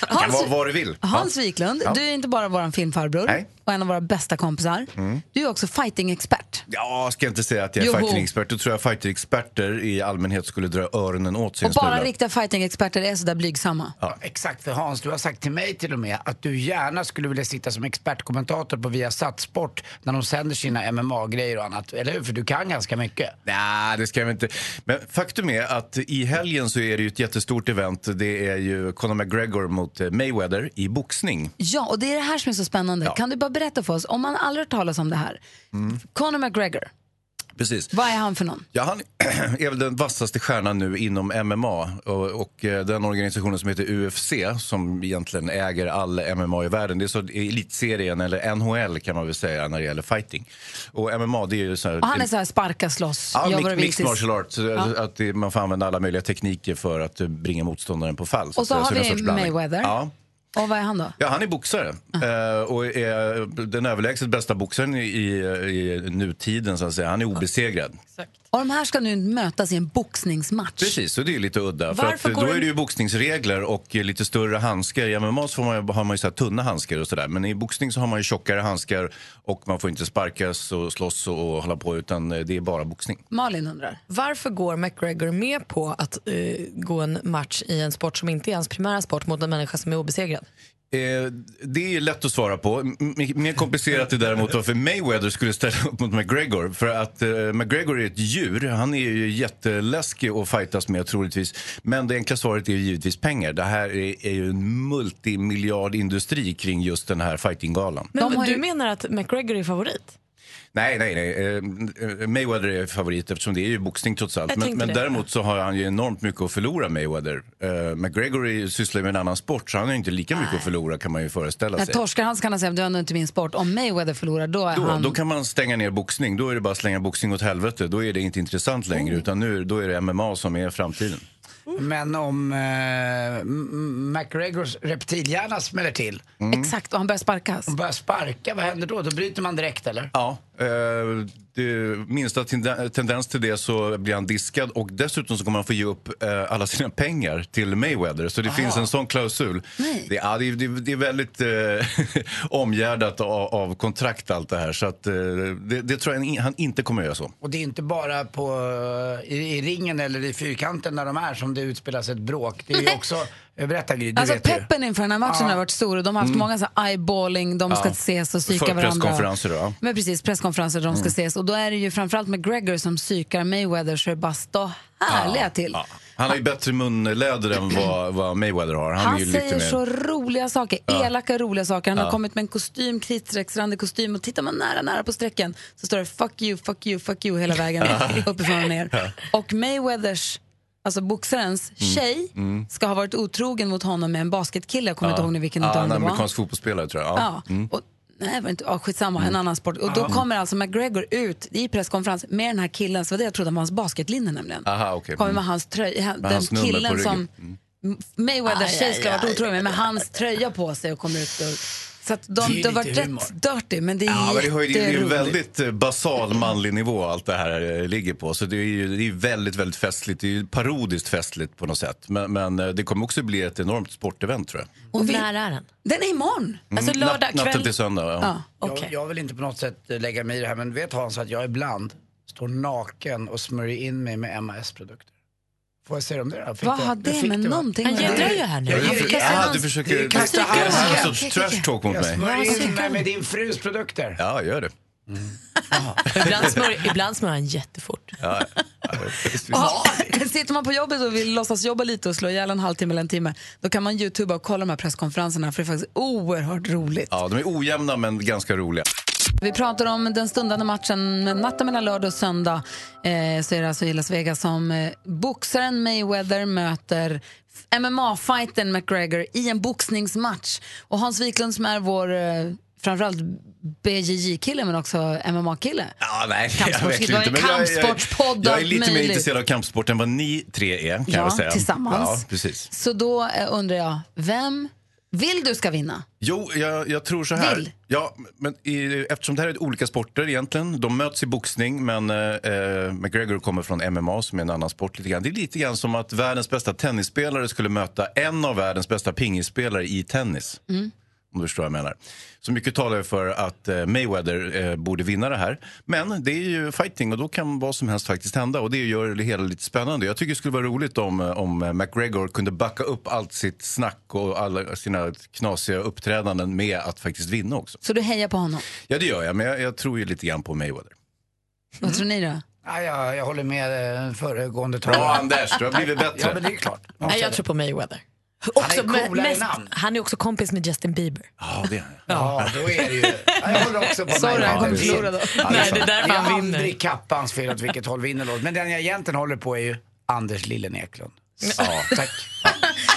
Speaker 20: Det kan vara vad du vill.
Speaker 2: Hans Wiklund,
Speaker 20: Ja.
Speaker 2: du är inte bara vår filmfarbror och en av våra bästa kompisar. Mm. Du är också fighting-expert.
Speaker 20: Ja, ska jag inte säga att jag är
Speaker 2: Joho.
Speaker 20: fighting-expert. Då tror jag fighting-experter i allmänhet skulle dra öronen åt sig
Speaker 2: Och
Speaker 20: en
Speaker 2: bara
Speaker 20: smula.
Speaker 2: riktiga fighting-experter är sådär blygsamma.
Speaker 3: Ja. Exakt, för Hans, du har sagt till mig till och med att du gärna skulle vilja sitta som expertkommentator på Viasat Sport när de sänder sina MMA-grejer och annat. Eller hur? För du kan ganska mycket.
Speaker 20: Nej, det ska vi inte. Men faktum är att i helgen så är det ju ett jättestort event. Det är ju Conor McGregor mot eh, Mayweather i boxning.
Speaker 2: Ja, och det är det här som är så spännande. Kan du bara berätta för oss, om man aldrig har hört talas om det här. Mm. Conor McGregor,
Speaker 20: Precis.
Speaker 2: vad är han för någon?
Speaker 20: Ja, han är väl den vassaste stjärnan nu inom MMA och, och eh, den organisationen som heter UFC som egentligen äger all MMA i världen. Det är så elitserien eller NHL kan man väl säga när det gäller fighting. Och MMA det är ju så här...
Speaker 2: Och han är så här sparka, slåss,
Speaker 20: Mm.
Speaker 2: gör
Speaker 20: Ja, mix,
Speaker 2: vad du vill
Speaker 20: mixed
Speaker 2: tills-
Speaker 20: martial arts. Så
Speaker 2: Ja.
Speaker 20: Att det, man får använda alla möjliga tekniker för att eh, bringa motståndaren på fall.
Speaker 2: Och så
Speaker 20: att
Speaker 2: har
Speaker 20: säga. det är en
Speaker 2: vi
Speaker 20: sorts blandning.
Speaker 2: Mayweather.
Speaker 20: Ja.
Speaker 2: Och vad är han då?
Speaker 20: Ja, han är boxare eh, och är den överlägset bästa boxaren i, i, i nutiden. Så att säga. Han är obesegrad.
Speaker 2: Och de här ska nu mötas i en boxningsmatch.
Speaker 20: Precis, och det är ju lite udda. För att,
Speaker 2: Varför
Speaker 20: eh,
Speaker 2: går
Speaker 20: då
Speaker 2: det-
Speaker 20: är det ju boxningsregler och eh, lite större handskar. I MMA så får man, ju- har man ju så här tunna handskar och sådär. Men i boxning så har man ju tjockare handskar och man får inte sparkas och slåss och, och hålla på utan eh, det är bara boxning.
Speaker 2: Malin undrar.
Speaker 4: Varför går McGregor med på att eh, gå en match i en sport som inte är hans primära sport mot en människa som är obesegrad?
Speaker 20: Eh, det är lätt att svara på. M- m- mer komplicerat är däremot varför Mayweather skulle ställa upp mot McGregor. För att eh, McGregor är ett djur. Han är ju jätteläskig att fightas med troligtvis. Men det enkla svaret är ju givetvis pengar. Det här är, är ju en multimiljardindustri kring just den här fightinggalan.
Speaker 4: Men du menar att McGregor är favorit?
Speaker 20: Nej, nej, nej. Eh, Mayweather är favorit eftersom det är ju boxning trots allt.
Speaker 4: Jag
Speaker 20: Men,
Speaker 4: tänkte
Speaker 20: men
Speaker 4: det.
Speaker 20: däremot så har han ju enormt mycket att förlora, Mayweather. Eh, McGregor är- sysslar ju med en annan sport så han har ju inte lika mycket att förlora kan man ju föreställa
Speaker 2: När
Speaker 20: sig.
Speaker 2: torskar han så kan han säga, du har nog inte min sport. Om Mayweather förlorar, då är
Speaker 20: Då,
Speaker 2: han...
Speaker 20: då kan man stänga ner boxning. Då är det bara att slänga boxning åt helvete. Då är det inte intressant längre. Utan nu då är det MMA som är framtiden.
Speaker 2: Mm.
Speaker 3: Men om eh, M- M- McGregors reptilhjärna smäller till.
Speaker 2: Exakt, och han börjar sparkas.
Speaker 3: Börjar sparka, vad händer då? Då bryter man direkt eller?
Speaker 20: Ja, Eh, det, minsta tende- tendens till det så blir han diskad och dessutom så kommer han få ge upp eh, alla sina pengar till Mayweather. Så det
Speaker 21: Aha.
Speaker 20: finns en sån klausul. Det, ja, det, det, det är väldigt eh, omgärdat av, av kontrakt allt det här. Så att, eh, det, det tror jag han, han inte kommer göra så.
Speaker 3: Och det är inte bara på, eh, i, i ringen eller i fyrkanten när de är som det utspelas ett bråk. Det är ju också, eh, berätta Gry, du
Speaker 2: Alltså
Speaker 3: vet ju.
Speaker 2: peppen inför den här matchen
Speaker 3: Ja.
Speaker 2: har varit stor och de har haft
Speaker 3: Mm.
Speaker 2: många så här eyeballing, de ska
Speaker 3: Ja.
Speaker 2: ses och psyka
Speaker 20: För
Speaker 2: varandra.
Speaker 20: presskonferenser då, ja.
Speaker 2: Men precis, presskonferenser där de ska
Speaker 20: Mm.
Speaker 2: ses. Och då är det ju framförallt McGregor som psykar Mayweather så det bara står härliga till.
Speaker 20: Han har ju bättre munläder än vad, vad Mayweather har. Han,
Speaker 2: Han
Speaker 20: är ju lite
Speaker 2: säger
Speaker 20: mer...
Speaker 2: så roliga saker,
Speaker 20: Ja.
Speaker 2: elaka roliga saker. Han har
Speaker 20: Ja.
Speaker 2: kommit med en kostym, kritstrecksrandig kostym och tittar man nära, nära på strecken så står det fuck you, fuck you, fuck you hela vägen uppifrån och ner. Och Mayweathers, alltså boxarens tjej,
Speaker 20: Mm.
Speaker 2: ska ha varit otrogen mot honom med en basketkille. Jag kommer
Speaker 20: Ja.
Speaker 2: inte ihåg nu vilken
Speaker 20: ja,
Speaker 2: utav
Speaker 20: en
Speaker 2: dem det var.
Speaker 20: amerikansk fotbollsspelare tror jag.
Speaker 2: Ja.
Speaker 20: Mm.
Speaker 2: Nej, det var inte, ja, skitsamma, en
Speaker 20: Mm.
Speaker 2: annan sport. Och då
Speaker 20: Ja.
Speaker 2: kommer alltså McGregor ut i presskonferens med den här killen, så var det jag trodde var hans basketlinne nämligen.
Speaker 20: Aha, okej.
Speaker 2: Kommer
Speaker 20: Mm.
Speaker 2: med hans tröja,
Speaker 20: Med
Speaker 2: den
Speaker 20: hans nummer på
Speaker 2: killen
Speaker 20: ryggen. Mm.
Speaker 2: som Mayweathers
Speaker 4: Aj,
Speaker 2: tjej ska ha
Speaker 4: aj,
Speaker 2: varit otrogen med, med hans tröja på sig och kommer ut. Och, så att
Speaker 3: Det är
Speaker 2: de,
Speaker 3: ju
Speaker 2: det har varit
Speaker 3: lite
Speaker 2: rätt dirty, men det är
Speaker 20: Ja, men det, har ju, det är ju en
Speaker 2: jätteroligt.
Speaker 20: väldigt eh, basal manlig nivå allt det här eh, ligger på. Så det är ju det är ju väldigt, väldigt festligt. Det är ju parodiskt festligt på något sätt. Men, men eh, det kommer också bli ett enormt sportevent tror jag.
Speaker 2: Och vi-
Speaker 4: När är den?
Speaker 2: Den är imorgon.
Speaker 20: Mm, Alltså, lördag natt- kväll. natten till söndag, ja. Ja,
Speaker 3: jag, jag vill inte på något sätt eh, lägga mig i det här men vet Hans att jag ibland står naken och smörjer in mig med MAS-produkter. Får jag säga om det då? Fick
Speaker 2: Vad
Speaker 3: det-
Speaker 2: har
Speaker 3: det
Speaker 2: det
Speaker 3: fick
Speaker 2: med
Speaker 3: det, va?
Speaker 2: någonting att göra?
Speaker 20: Jag
Speaker 3: Jag
Speaker 20: ger-
Speaker 3: ger-
Speaker 20: Ah,
Speaker 3: jag-
Speaker 20: du försöker...
Speaker 3: jag kastar
Speaker 20: det här är en
Speaker 3: handsken.
Speaker 20: sorts trash talk mot
Speaker 3: Jag
Speaker 20: mig.
Speaker 3: smörjer in mig med din frus produkter.
Speaker 20: Ja, gör det.
Speaker 4: Ibland smörjer, ibland smörjer han jättefort.
Speaker 20: Ja.
Speaker 2: Ja, sitter man på jobbet och vill låtsas jobba lite och slå ihjäl en halvtimme eller en timme, då kan man youtuba och kolla de här presskonferenserna för det är faktiskt Oh! oerhört roligt.
Speaker 20: ja, de är ojämna men ganska roliga.
Speaker 2: Vi pratar om den stundande matchen men natten mellan lördag och söndag. Eh, så är det alltså i Las Vegas som eh, boxaren Mayweather möter MMA-fightern McGregor i en boxningsmatch. Och Hans Wiklund som är vår, eh, framförallt BJJ-kille men också MMA-kille.
Speaker 20: Ja, nej,
Speaker 2: Kampsport-
Speaker 20: jag vet
Speaker 2: det var
Speaker 20: inte.
Speaker 2: en
Speaker 20: Men jag- jag-
Speaker 2: kampsportspodd och
Speaker 20: Jag är
Speaker 2: allt
Speaker 20: lite mer
Speaker 2: möjligt.
Speaker 20: intresserad av kampsport än vad ni tre är, kan
Speaker 2: Ja,
Speaker 20: jag väl säga.
Speaker 2: tillsammans.
Speaker 20: Ja, precis.
Speaker 2: Så då eh, undrar jag, vem vill du ska vinna?
Speaker 20: Jo, jag, jag tror så här.
Speaker 2: Vill.
Speaker 20: Ja, men i, eftersom det här är olika sporter egentligen. De möts i boxning, men eh, eh, McGregor kommer från MMA som är en annan sport lite grann. Det är lite grann som att världens bästa tennisspelare skulle möta en av världens bästa pingisspelare i tennis.
Speaker 9: Mm.
Speaker 20: Om du förstår vad jag menar. Så mycket talar ju för att eh, Mayweather eh, borde vinna det här. Men det är ju fighting och då kan vad som helst faktiskt hända. Och det gör det hela lite spännande. Jag tycker det skulle vara roligt om, eh, om eh, McGregor kunde backa upp allt sitt snack och alla sina knasiga uppträdanden med att faktiskt vinna också.
Speaker 2: Så du hejar på honom.
Speaker 20: Ja, det gör jag. Men jag, jag tror ju lite grann på Mayweather.
Speaker 2: Vad tror ni då?
Speaker 3: Ja, jag, jag håller med eh, föregående talare.
Speaker 20: Bra, Anders. Du har blivit bättre.
Speaker 3: Ja, men det är klart.
Speaker 4: Nej, jag tror på Mayweather.
Speaker 3: Han är
Speaker 4: Också,
Speaker 3: coolare
Speaker 4: men-
Speaker 3: i
Speaker 4: mest,
Speaker 3: namn.
Speaker 4: han är också kompis med Justin Bieber.
Speaker 20: Ja, det är
Speaker 3: Ja, då är det ju... Ja, jag håller också på
Speaker 4: Sorry,
Speaker 3: mig.
Speaker 4: han kommer
Speaker 3: Ja, det är-
Speaker 4: förlora då.
Speaker 3: Ja, det är
Speaker 4: Nej,
Speaker 3: sant.
Speaker 4: det är därför
Speaker 3: Det
Speaker 4: han vinner.
Speaker 3: aldrig Kappans fel åt vilket håll vinner låt. Men den jag egentligen håller på är ju Anders Lillen Eklund.
Speaker 20: Ja,
Speaker 3: tack.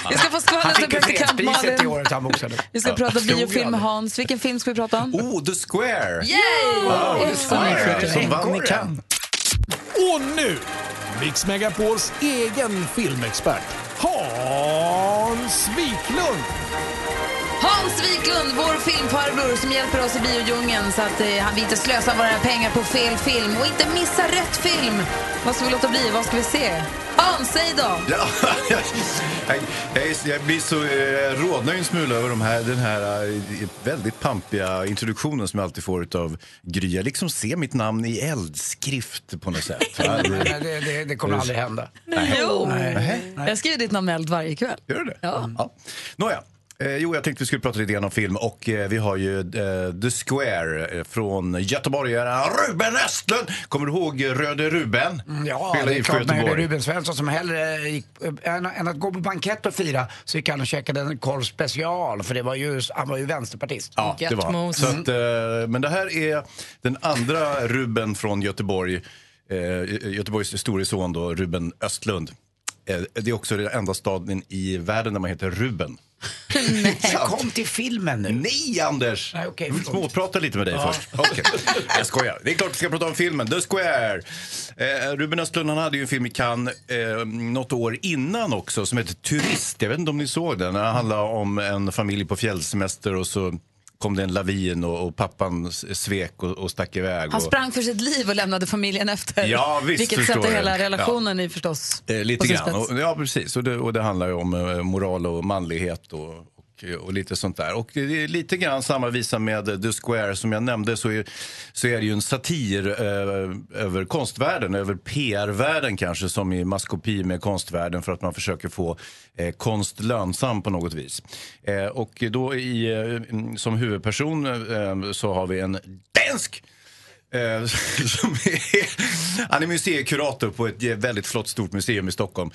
Speaker 2: Jag
Speaker 20: Ah.
Speaker 2: ska få
Speaker 3: Han
Speaker 2: skvallret med
Speaker 3: fick ju
Speaker 2: praktikant
Speaker 3: fredspriset i
Speaker 2: Malin.
Speaker 3: året han boxade.
Speaker 2: Vi ska prata
Speaker 3: Stod
Speaker 2: biofilm med Hans. Vilken film ska vi prata om?
Speaker 20: Oh, The Square!
Speaker 2: Yay!
Speaker 20: Wow,
Speaker 2: Exakt.
Speaker 20: The Square som vann den.
Speaker 17: Och nu, Mix Megapols egen filmexpert, Hans Wiklund!
Speaker 2: Hans Wiklund, vår filmfarbror som hjälper oss i biodjungeln så att eh, han- vi inte slösar våra pengar på fel film och inte missar rätt film. Vad ska vi låta bli? Vad ska vi se? Hans, säg då!
Speaker 20: Ja, jag, jag, är- jag blir så eh, rodnar ju en smula över de här, den här eh, väldigt pampiga introduktionen som jag alltid får av Gry. Jag liksom ser mitt namn i eldskrift på något sätt. Ja,
Speaker 3: Nej, nej, det, det, det kommer aldrig hända.
Speaker 2: Jo!
Speaker 20: Nej.
Speaker 2: Jag skriver ditt namn med eld varje kväll.
Speaker 20: Gör du det?
Speaker 2: Ja.
Speaker 20: Nåja. Eh, jo, jag tänkte vi skulle prata lite grann om film och eh, vi har ju eh, The Square eh, från göteborgaren Ruben Östlund. Kommer du ihåg eh, Röde Ruben?
Speaker 3: Mm, Ja,
Speaker 20: Spelar
Speaker 3: det är
Speaker 20: IFK
Speaker 3: klart. Men det är
Speaker 20: Göteborg.
Speaker 3: Ruben Svensson som hellre gick, eh, än, än att gå på bankett och fira så gick han och käkade en korv special för det var ju, han var ju vänsterpartist.
Speaker 20: Ja, det var han. Så att, eh, men det här är den andra Ruben från Göteborg. Eh, Göteborgs store son då, Ruben Östlund. Eh, det är också den enda staden i världen där man heter Ruben.
Speaker 3: Men kom till filmen nu.
Speaker 20: Nej, Anders!
Speaker 3: Nej, okej,
Speaker 20: Jag vill
Speaker 3: förlåt.
Speaker 20: småprata lite med dig
Speaker 3: Ja.
Speaker 20: först. Okej. Jag skojar. Det är klart vi ska prata om filmen The Square. Eh, Ruben Östlund han hade ju en film i Cannes eh, något år innan också som hette Turist. Jag vet inte om ni såg den. Den handlar om en familj på fjällsemester och så kom det en lavin och, och pappan s- svek och, och stack iväg.
Speaker 2: Han
Speaker 20: och,
Speaker 2: sprang för sitt liv och lämnade familjen efter.
Speaker 20: Ja, visst,
Speaker 2: Vilket
Speaker 20: förstår
Speaker 2: sätter
Speaker 20: jag.
Speaker 2: hela
Speaker 20: Ja.
Speaker 2: relationen i förstås.
Speaker 20: Eh,
Speaker 2: på
Speaker 20: lite
Speaker 2: sin
Speaker 20: grann.
Speaker 2: spets.
Speaker 20: Och, ja, precis. Och det, och det handlar ju om eh, moral och manlighet och, och, och lite sånt där. Och det är lite grann samma visa med eh, The Square. Som jag nämnde så är, så är det ju en satir eh, över konstvärlden, över PR-världen kanske, som i maskopi med konstvärlden för att man försöker få eh, konst lönsam på något vis. Eh, och då i, eh, mm, som huvudperson eh, så har vi en dansk Eh, som är, han är museikurator på ett eh, väldigt flott stort museum i Stockholm.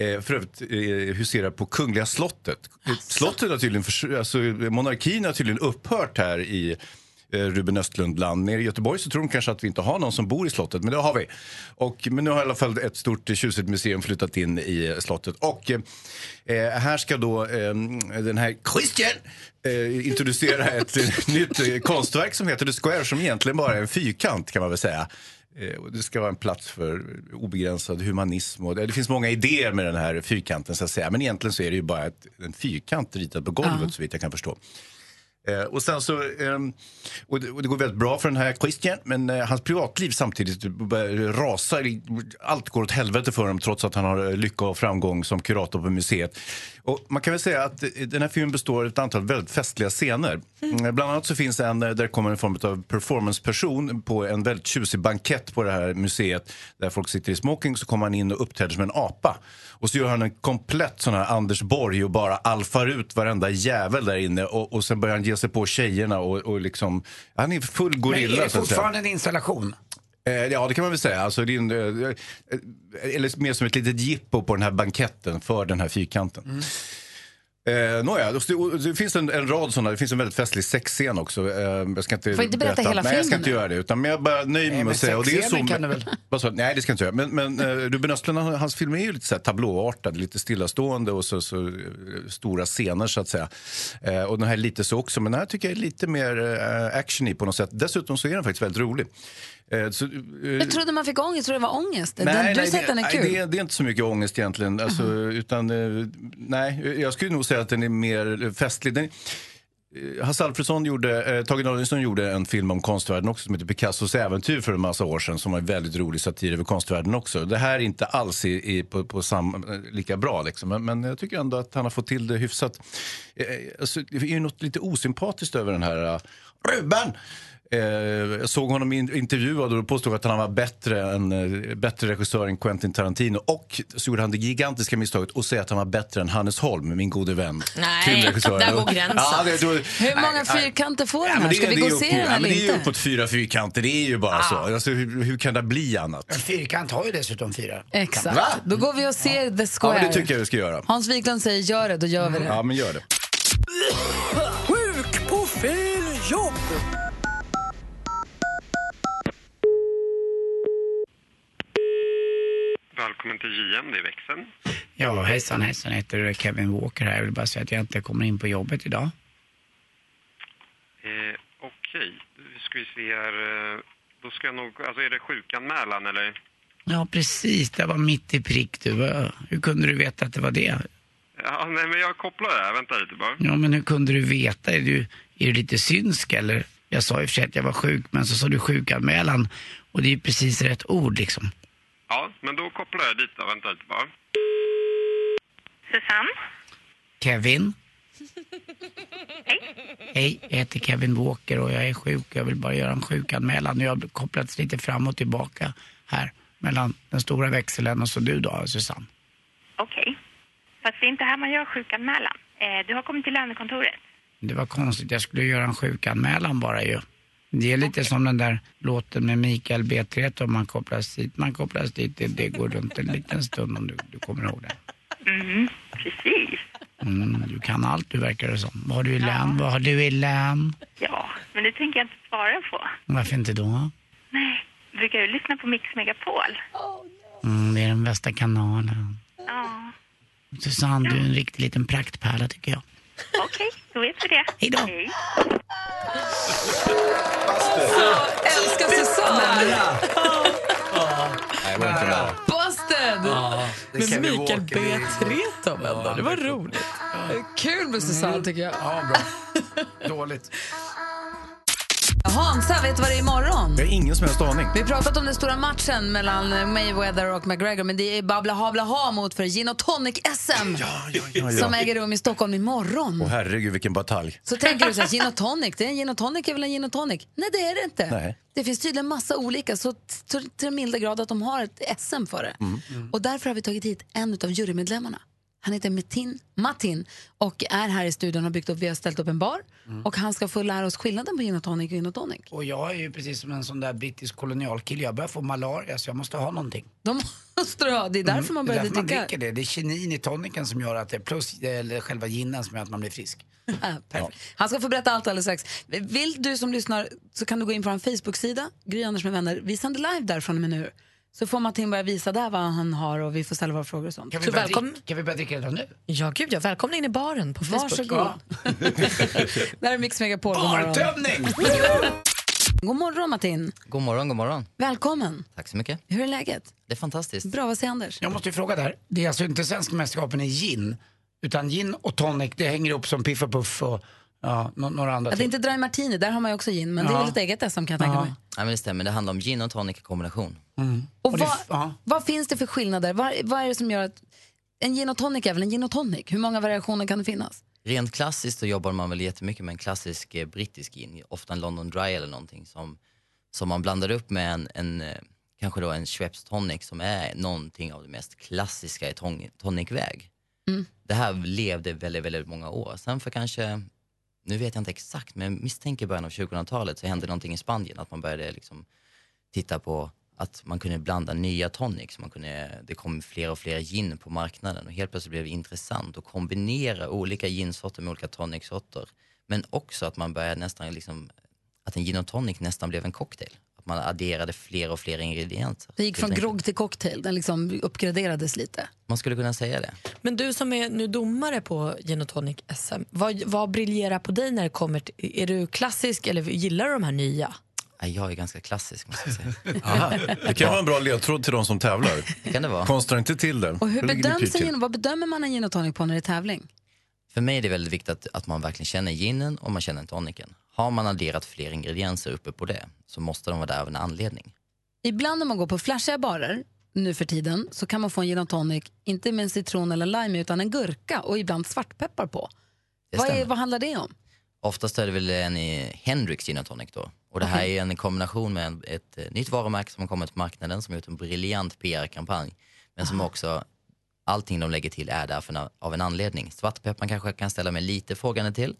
Speaker 20: Eh, för övrigt eh, huserar på Kungliga slottet. Eh, Slottet har tydligen, förs- alltså, eh, monarkin har tydligen upphört här i eh, Ruben Östlund-land. Nere i Göteborg så tror de kanske att vi inte har någon som bor i slottet, men det har vi. Och, men nu har i alla fall ett stort eh, tjusigt museum flyttat in i eh, slottet. Och eh, eh, här ska då eh, den här Christian eh, introducera ett eh, nytt eh, konstverk som heter The Square som egentligen bara är en fyrkant kan man väl säga. Eh, och Det ska vara en plats för obegränsad humanism. Och det, det finns många idéer med den här fyrkanten så att säga. Men egentligen så är det ju bara ett, en fyrkant ritad på golvet så vitt jag kan förstå. Eh, och, sen så, ehm, och, det, och det går väldigt bra för den här Christian, men eh, hans privatliv samtidigt börjar rasa. Allt går åt helvete för honom trots att han har eh, lycka och framgång som kurator på museet. Och man kan väl säga att eh, den här filmen består av ett antal väldigt festliga scener. Mm. Bland annat så finns en eh, där det kommer en form av performanceperson på en väldigt tjusig bankett på det här museet där folk sitter i smoking. Så kommer han in och uppträder som en apa. Och så gör han en komplett sån här Anders Borg och bara alfar ut varenda jävel där inne. Och, och sen börjar han ge sig på tjejerna och, och liksom... Han är full gorilla.
Speaker 3: Men är det
Speaker 20: så att säga.
Speaker 3: fortfarande en installation?
Speaker 20: Eh, Ja, det kan man väl säga. Alltså, det är en, eh, eh, eller mer som ett litet jippo på den här banketten för den här fyrkanten. Eh, Nåja, och det, och det finns en, en rad sådana. Det finns en väldigt festlig sexscen också. Eh, jag ska inte
Speaker 2: Får inte berätta hela
Speaker 20: Nej, jag ska
Speaker 2: filmen
Speaker 20: inte
Speaker 2: nu.
Speaker 20: göra det. Utan, men jag bara nöjer mig
Speaker 3: men
Speaker 20: med att säga. Och det är så,
Speaker 3: sexscenen kan du väl-
Speaker 20: Vad sa du? nej, det ska jag inte göra. Men, men eh, Ruben Östlund, han- hans filmer är ju lite så här tablåartade, lite stillastående och så, så eh, stora scener så att säga. Eh, och den här är lite så också, men den här tycker jag är lite mer eh, action i på något sätt. Dessutom så är den faktiskt väldigt rolig. Eh, så, eh,
Speaker 2: Jag trodde man fick ångest, jag trodde det var ångest.
Speaker 20: Nej,
Speaker 2: den,
Speaker 20: nej,
Speaker 2: du säger att den är
Speaker 20: nej,
Speaker 2: kul.
Speaker 20: Det, är- det är inte så mycket ångest egentligen. Alltså, utan, eh, nej, jag skulle nog säga att den är mer festlig. Den, eh, Hasse Alfredson gjorde, eh, Tage Danielsson gjorde en film om konstvärlden också som heter Picassos äventyr för en massa år sedan som var en väldigt rolig satir över konstvärlden också. Det här är inte alls i, i, på, på sam, eh, lika bra liksom. men, men jag tycker ändå att han har fått till det hyfsat. Eh, Alltså, det är ju något lite osympatiskt över den här eh, Ruben! Eh, jag såg honom in- intervjuad och då påstod att han var bättre, än, eh, bättre regissör än Quentin Tarantino. Och så gjorde han det gigantiska misstaget att säga att han var bättre än Hannes Holm, min gode vän.
Speaker 2: Nej,
Speaker 20: Filmregissören.
Speaker 2: där går gränsen.
Speaker 20: Ja, det, då,
Speaker 2: Hur många
Speaker 20: nej, nej.
Speaker 2: fyrkanter får
Speaker 20: Ja,
Speaker 2: den
Speaker 20: men
Speaker 2: här?
Speaker 20: det,
Speaker 2: Ska vi
Speaker 20: det
Speaker 2: gå
Speaker 20: är
Speaker 2: och
Speaker 20: upp-
Speaker 2: se den
Speaker 20: ja, men
Speaker 2: eller
Speaker 20: Det är ju
Speaker 2: inte?
Speaker 20: uppåt fyra fyrkanter, det är ju bara så. Alltså, hur, hur kan det bli annat?
Speaker 3: En fyrkant har ju dessutom fyra.
Speaker 2: Exakt.
Speaker 20: Va?
Speaker 2: Då går vi och ser The
Speaker 20: Ja,
Speaker 2: Square.
Speaker 20: men det tycker jag vi ska göra.
Speaker 2: Hans Wiklund säger gör det, då gör vi det.
Speaker 20: Ja, men gör det.
Speaker 9: Sjuk på fel jobb!
Speaker 22: Välkommen till JM, det är växeln.
Speaker 3: Ja, hejsan hejsan, jag heter Kevin Walker här. Jag vill bara säga att jag inte kommer in på jobbet idag.
Speaker 22: Eh, Okej, nu ska vi se här. eh, Då ska jag nog... Alltså är det sjukanmälan eller?
Speaker 3: Ja, precis. Det var mitt i prick du. Vad- Hur kunde du veta att det var det?
Speaker 22: Ja, nej men jag kopplar det här. Vänta lite bara.
Speaker 3: Ja, men hur kunde du veta? Är du, är du lite synsk eller? Jag sa i och för sig att jag var sjuk, men så sa du sjukanmälan. Och det är ju precis rätt ord liksom.
Speaker 22: Ja, men då kopplar jag dit då. Vänta lite bara.
Speaker 5: Susanne?
Speaker 3: Kevin?
Speaker 5: Hej.
Speaker 3: Hej, jag heter Kevin Walker och jag är sjuk. Jag vill bara göra en sjukanmälan. Jag har kopplats lite fram och tillbaka här. Mellan den stora växeln och så du då, Susanne.
Speaker 5: Okej. Fast det är inte här man gör sjukanmälan. Eh, du har kommit till lönekontoret.
Speaker 3: Det var konstigt, jag skulle göra en sjukanmälan bara ju. Det är lite som den där låten med Mikael B. Treto, man kopplas hit, man kopplas dit, det, det går runt en liten stund om du, du kommer ihåg den.
Speaker 5: Mm, precis.
Speaker 3: Mm, du kan allt du verkar det som. Vad har du i län? Vad har du i län?
Speaker 5: Ja, men det tänker jag inte svara på.
Speaker 3: Varför inte då?
Speaker 5: Nej. Brukar du lyssna på Mix Megapol?
Speaker 3: Mm, det är den bästa kanalen.
Speaker 5: Ja.
Speaker 3: Susanne, du är en riktig liten praktpärla tycker jag.
Speaker 5: Okej, då vet vi det.
Speaker 3: Hejdå.
Speaker 5: Hej.
Speaker 2: Älskar Susanne!
Speaker 20: Nej, var inte
Speaker 4: Ah.
Speaker 20: nära.
Speaker 2: Busted!
Speaker 20: Ja, det
Speaker 2: med
Speaker 20: kan vi
Speaker 2: Mikael
Speaker 20: åka.
Speaker 2: B. Tretow
Speaker 20: Mm.
Speaker 2: ändå. Det var roligt. Kul med Susanne tycker jag.
Speaker 3: Ja, bra. Dåligt.
Speaker 2: Hansa, vet du vad det är imorgon?
Speaker 20: Jag har ingen som helst aning.
Speaker 2: Vi har pratat om den stora matchen mellan eh, Mayweather och McGregor, men det är Babla Habla Ha mot för gin och tonic-SM
Speaker 20: ja, ja.
Speaker 2: som äger rum i Stockholm imorgon.
Speaker 20: Åh herregud, vilken batalj.
Speaker 2: Så tänker du så här, gin och tonic, det är en gin och tonic är väl en gin och tonic? Nej, det är det inte.
Speaker 20: Nej.
Speaker 2: Det finns tydligen massa olika, så t- så till den milda grad att de har ett SM för det.
Speaker 20: Mm.
Speaker 3: Mm.
Speaker 2: Och därför har vi tagit hit en av jurymedlemmarna. Han heter Metin, Martin och är här i studion och har byggt upp, vi har ställt upp en bar
Speaker 3: Mm.
Speaker 2: och han ska få lära oss skillnaden på gin och tonic och gin och tonic.
Speaker 3: Och jag är ju precis som en sån där brittisk kolonialkille. Jag börjar få malaria så jag måste ha någonting.
Speaker 2: De måste du ha, det är därför man började
Speaker 3: därför man
Speaker 2: dricka.
Speaker 3: dricker Mm. det. Det är kinin i toniken som gör att det, plus eller själva ginen som gör att man blir frisk.
Speaker 2: Äh, Han ska få berätta allt alldeles strax. Vill du som lyssnar så kan du gå in på vår Facebook-sida, Gry Anders med vänner. Vi sänder live där från och med nu. Så får Martin börja visa där vad han har och vi får ställa våra frågor och sånt.
Speaker 3: Kan vi,
Speaker 2: så
Speaker 3: börja,
Speaker 2: välkommen.
Speaker 3: drick, kan vi börja dricka redan nu?
Speaker 4: Ja, gud ja. Välkommen in i baren på Facebook.
Speaker 2: Varsågod. Där är Mix Megapol. God morgon.
Speaker 3: Bartömning!
Speaker 2: God morgon Martin.
Speaker 23: God morgon, god morgon.
Speaker 2: Välkommen.
Speaker 23: Tack så mycket.
Speaker 2: Hur är läget?
Speaker 23: Det är fantastiskt.
Speaker 2: Bra, vad säger Anders?
Speaker 3: Jag måste ju fråga där. Det är alltså inte svenska mästerskapen i gin, utan gin och tonic, det hänger ihop som Piff och Puff och ja, nå- några andra
Speaker 2: Att det inte är Dry Martini, där har man ju också gin, men det är
Speaker 23: Ja.
Speaker 2: väl ett eget SM kan jag tänka mig.
Speaker 23: Nej, men det stämmer, det handlar om gin och tonic i kombination.
Speaker 2: Och vad, vad finns det för skillnader? Vad, vad är det som gör att en gin och tonic är väl en gin och tonic? Hur många variationer kan det finnas?
Speaker 23: Rent klassiskt så jobbar man väl jättemycket med en klassisk eh, brittisk gin, ofta en London Dry eller någonting som, som man blandar upp med en, en eh, kanske då en Schweppes tonic som är någonting av det mest klassiska i ton, tonicväg.
Speaker 2: Mm.
Speaker 23: Det här levde väldigt, väldigt många år. Sen för kanske, nu vet jag inte exakt, men jag misstänker början av 2000-talet så hände någonting i Spanien, att man började liksom titta på att man kunde blanda nya tonics. Man kunde, det kom fler och fler gin på marknaden och helt plötsligt blev det intressant att kombinera olika ginsorter med olika tonicsorter. Men också att man började nästan liksom, att en gin och tonic nästan blev en cocktail. Att man adderade fler och fler ingredienser.
Speaker 2: Det gick från
Speaker 23: Helt enkelt.
Speaker 2: grogg till cocktail, den liksom uppgraderades lite.
Speaker 23: Man skulle kunna säga det.
Speaker 4: Men du som är nu domare på gin och tonic SM, vad, vad briljerar på dig när det kommer till, är du klassisk eller gillar du de här nya?
Speaker 23: Nej, Jag är ganska klassisk måste jag säga.
Speaker 20: Det kan vara en bra ledtråd till de som tävlar.
Speaker 23: kan det vara.
Speaker 20: Konstra inte till det.
Speaker 2: Och hur
Speaker 23: Hur ligger ni
Speaker 2: bedöms
Speaker 23: till?
Speaker 2: en gin, vad bedömer man en gin och tonic på när det är tävling?
Speaker 23: För mig är det väldigt viktigt att, att man verkligen känner ginen och man känner toniken. Har man adderat fler ingredienser uppe på det så måste de vara där av en anledning.
Speaker 2: Ibland om man går på flashiga barer nu för tiden så kan man få en gin och tonic, inte med en citron eller lime utan en gurka och ibland svartpeppar på.
Speaker 23: Det
Speaker 2: Vad, är,
Speaker 23: stämmer.
Speaker 2: vad handlar det om?
Speaker 23: Oftast är det väl en i Hendrix gin och tonic då. Och det här
Speaker 2: Okej.
Speaker 23: är en kombination med en- ett, eh, nytt varumärke som har kommit på marknaden som har gjort en briljant PR-kampanj. Men
Speaker 3: Ah.
Speaker 23: som också, allting de lägger till är där för, na- av en anledning. Svartpepparn kanske jag kan ställa mig lite frågande till.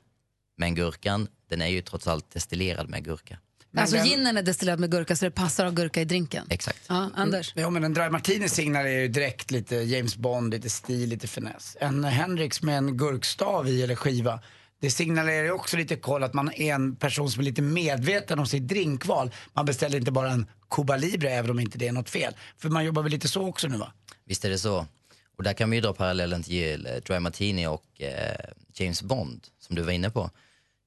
Speaker 23: Men gurkan, den är ju trots allt destillerad med gurka.
Speaker 2: alltså ginen är destillerad med gurka så det passar av gurka i drinken.
Speaker 23: Exakt.
Speaker 2: Ja, Anders?
Speaker 3: Mm. Ja, men en Dry Martini signalerar ju direkt lite James Bond, lite stil, lite finess. En Hendrix med en gurkstav i eller skiva, det signalerar ju också lite koll att man är en person som är lite medveten om sitt drinkval. Man beställer inte bara en Cuba Libre även om inte det är något fel. För man jobbar väl lite så också nu va?
Speaker 23: Visst är det så. Och där kan vi ju dra parallellen till eh, Dry Martini och eh, James Bond, som du var inne på.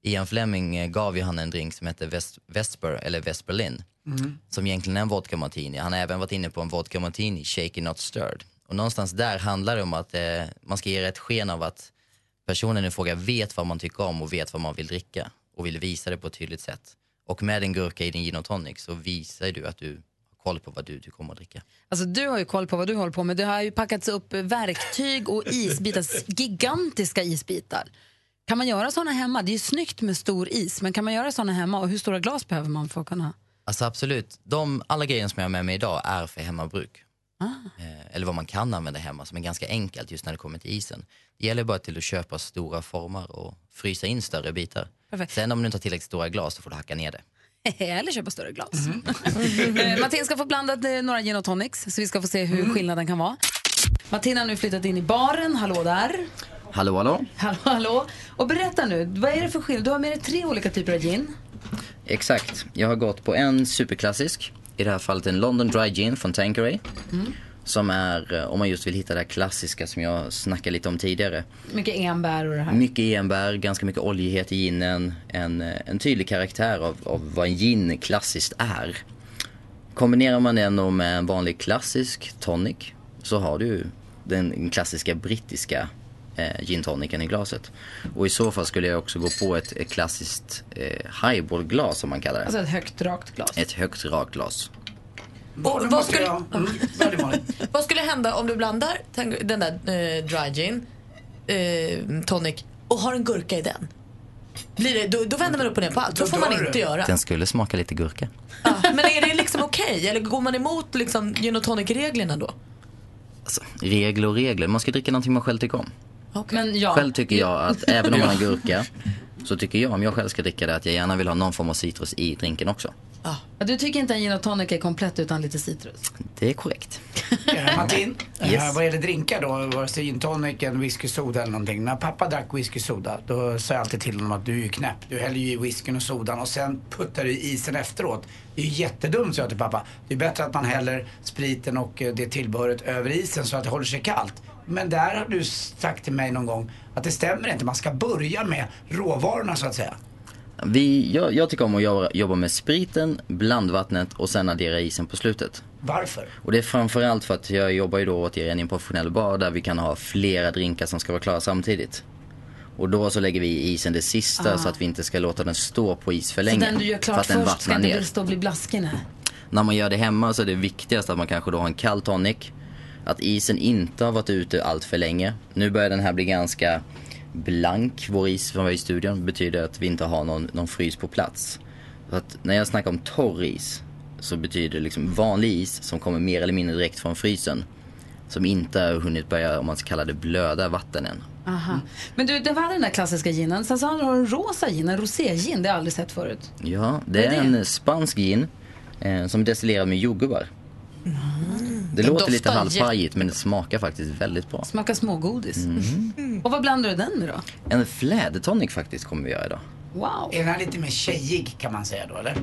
Speaker 23: Ian Fleming eh, gav ju han en drink som hette West, Vesper, eller West Berlin,
Speaker 24: Mm.
Speaker 23: som egentligen är en vodka martini. Han har även varit inne på en vodka martini, shaken not stirred. Och någonstans där handlar det om att eh, man ska ge ett sken av att personen i fråga vet vad man tycker om och vet vad man vill dricka och vill visa det på ett tydligt sätt. Och med en gurka i din gin och tonic så visar du att du har koll på vad du tycker om att dricka.
Speaker 2: Alltså, du har ju koll på vad du håller på med. Det har ju packats upp verktyg och isbitar, s- gigantiska isbitar. Kan man göra såna hemma? Det är ju snyggt med stor is, men kan man göra såna hemma? Och hur stora glas behöver man för att kunna?
Speaker 23: Alltså absolut, de, alla grejer som jag har med mig idag är för hemmabruk.
Speaker 2: Ah.
Speaker 23: Eh, Eller vad man kan använda hemma som är ganska enkelt just när det kommer till isen. Det gäller bara till att köpa stora formar och frysa in större bitar.
Speaker 2: Perfekt.
Speaker 23: Sen om du inte har tillräckligt stora glas så får du hacka ner det.
Speaker 2: Eller köpa större glas. Eh, Martin ska få blandat eh, några gin och tonics, så vi ska få se hur skillnaden kan vara. Martin har nu flyttat in i baren. Hallå där.
Speaker 25: Hallå, hallå.
Speaker 2: Hallå, hallå. Och berätta nu, vad är det för skillnad? Du har med dig tre olika typer av gin.
Speaker 23: Exakt. Jag har gått på en superklassisk. I det här fallet en London Dry Gin från Tanqueray.
Speaker 2: Mm.
Speaker 23: Som är, eh, om man just vill hitta det här klassiska som jag snackade lite om tidigare.
Speaker 2: Mycket enbär och det här.
Speaker 23: Mycket enbär, ganska mycket oljighet i ginen. En, eh, en tydlig karaktär av, av vad en gin klassiskt är. Kombinerar man den då med en vanlig klassisk tonic så har du den klassiska brittiska eh, gin tonicen i glaset. Och i så fall skulle jag också gå på ett, ett klassiskt eh, highballglas som man kallar det.
Speaker 2: Alltså ett högt rakt glas.
Speaker 23: Ett högt rakt glas.
Speaker 4: Och vad, skulle,
Speaker 2: Mm,
Speaker 4: vad skulle hända om du blandar tang- den där eh, dry gin, eh, tonic och har en gurka i den? Blir det, då, då vänder man upp och ner på allt. Så får man inte göra.
Speaker 23: Den skulle smaka lite gurka.
Speaker 4: Ja, men är det liksom okej? Eller går man emot liksom, gin och tonic-reglerna då?
Speaker 23: Alltså, Regler och regler. Man ska dricka någonting man själv tycker om.
Speaker 2: Men ja,
Speaker 23: Själv tycker jag att även om man har gurka så tycker jag om jag själv ska dricka det att jag gärna vill ha någon form av citrus i drinken också.
Speaker 2: du tycker inte en gin och tonic är komplett utan lite citrus?
Speaker 23: Det är korrekt.
Speaker 3: Martin,
Speaker 23: Yes.
Speaker 3: eh, vad gäller drinkar då? Vare sig gin tonic, en whisky soda eller någonting. När pappa drack whisky soda, då sa jag alltid till honom att du är ju knäpp. Du häller ju i whiskyn och sodan och sen puttar du i isen efteråt. Det är ju jättedumt, sa jag till pappa. Det är bättre att man häller spriten och eh, det tillbehöret över isen så att det håller sig kallt. Men där har du sagt till mig någon gång att det stämmer inte. Man ska börja med råvarorna så att säga.
Speaker 23: Vi, jag, jag tycker om att jobba, jobba med spriten, blandvattnet och sen addera isen på slutet.
Speaker 3: Varför?
Speaker 23: Och det är framförallt för att jag jobbar ju då återigen i en professionell bar där vi kan ha flera drinkar som ska vara klara samtidigt. Och då så lägger vi i isen det sista
Speaker 2: Ah.
Speaker 23: så att vi inte ska låta den stå på is för
Speaker 2: Så
Speaker 23: länge.
Speaker 2: den du gör
Speaker 23: för
Speaker 2: klart
Speaker 23: att den
Speaker 2: först ska
Speaker 23: vattnar
Speaker 2: inte
Speaker 23: ner.
Speaker 2: bli- stå och bli blaskig? Nej.
Speaker 23: När man gör det hemma så är det viktigast att man kanske då har en kall tonic. Att isen inte har varit ute allt för länge. Nu börjar den här bli ganska blank, vår is som var i studion. betyder att vi inte har någon, någon frys på plats. Så att när jag snackar om torr is så betyder det liksom vanlig is som kommer mer eller mindre direkt från frysen. Som inte har hunnit börja, om man ska kalla det, blöda vatten än.
Speaker 2: Aha. Mm. Men du, det var den där klassiska ginen. Sen så har du en rosa gin, en roségin. Det har jag aldrig sett förut.
Speaker 23: Ja, det
Speaker 2: Vad
Speaker 23: är,
Speaker 2: är det?
Speaker 23: en spansk gin eh, som destillerar med jordgubbar. Mm. Det
Speaker 2: Den
Speaker 23: låter lite
Speaker 2: doftar
Speaker 23: halvpajigt men det smakar faktiskt väldigt bra.
Speaker 2: Smakar smågodis. Mm.
Speaker 23: Mhm.
Speaker 2: Och vad blandar du den med då?
Speaker 23: En flädertonic faktiskt kommer vi göra idag.
Speaker 2: Wow.
Speaker 3: Är den här lite mer tjejig kan man säga då, eller?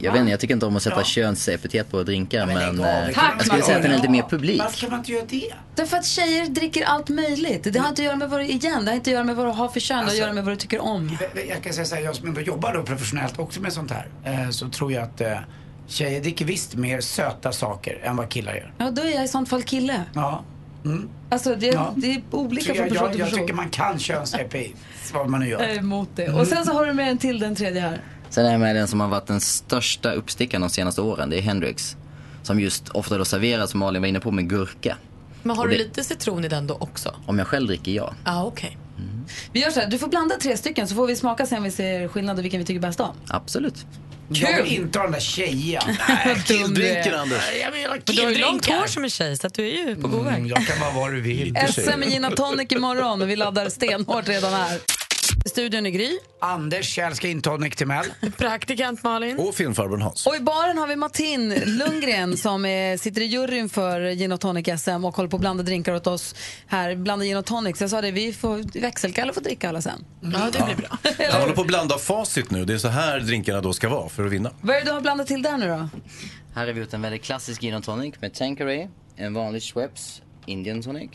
Speaker 23: Jag
Speaker 3: Ah.
Speaker 23: vet inte, jag tycker inte om att sätta
Speaker 3: Ja.
Speaker 23: könsepitet på drinkar men,
Speaker 3: lägg av,
Speaker 23: eh,
Speaker 3: vilken
Speaker 23: jag skulle säga att den är lite mer publik.
Speaker 3: Varför kan man inte göra det?
Speaker 2: Därför att tjejer dricker allt möjligt. Det har inte att göra med vad du, igen, det har inte att göra med vad du har för kön, det har att
Speaker 3: Alltså-
Speaker 2: göra med vad du tycker om.
Speaker 3: Jag kan säga så här, jag som ändå jobbar då professionellt också med sånt här, eh, så tror jag att eh, tjejer dricker visst mer söta saker än vad killar gör.
Speaker 2: Ja, då är jag i sånt fall kille.
Speaker 3: Ja. Mm.
Speaker 2: Alltså det,
Speaker 3: Ja.
Speaker 2: det är olika
Speaker 3: Så
Speaker 2: från
Speaker 3: jag,
Speaker 2: person
Speaker 3: jag,
Speaker 2: till
Speaker 3: jag
Speaker 2: person.
Speaker 3: tycker Mm. man kan köns-EPI, vad man nu
Speaker 2: Jag är
Speaker 3: gör.
Speaker 2: emot det. Och sen så har du med en till, den tredje här.
Speaker 23: Sen är jag med den som har varit den största uppstickaren de senaste åren, det är Hendrix. Som just ofta då serveras, som Malin var inne på, med gurka.
Speaker 4: Men har
Speaker 23: Och
Speaker 4: du
Speaker 23: det-
Speaker 4: lite citron i den då också?
Speaker 23: Om jag själv dricker, ja.
Speaker 4: Ja, ah, okej.
Speaker 2: Vi gör så här, du får blanda tre stycken så får vi smaka sen vi ser skillnad och vilken vi tycker bäst om.
Speaker 23: Absolut.
Speaker 3: Jag vill inte ha den där tjejiga. Nej,
Speaker 23: Killdrinken,
Speaker 4: Eh,
Speaker 2: Eh,
Speaker 23: Anders.
Speaker 3: Jag vill ha
Speaker 4: Men Du har ju långt
Speaker 3: killdrinkar.
Speaker 4: hår som en tjej så att du är ju på god väg.
Speaker 3: Mm, jag kan vara vad du vill.
Speaker 2: SM i gin och tonic imorgon och vi laddar stenhårt redan här. Studion är Gry.
Speaker 3: Anders Kjell ska in tonic till Mell.
Speaker 2: Praktikant Malin.
Speaker 20: Och filmfarbrorn Hans.
Speaker 2: Och i baren har vi Martin Lundgren som är, sitter i juryn för gin och tonic SM och håller på att blanda drinkar åt oss här. Blanda gin och tonic. Så jag sa det, vi får växelkalle får dricka alla sen. Ja, det blir bra.
Speaker 20: Han håller på att blanda facit nu. Det är så här drinkarna då ska vara för att vinna.
Speaker 2: Vad är det du har blandat till där nu då?
Speaker 23: Här har vi gjort en väldigt klassisk gin och tonic med Tanqueray, en vanlig Schweppes Indian tonic.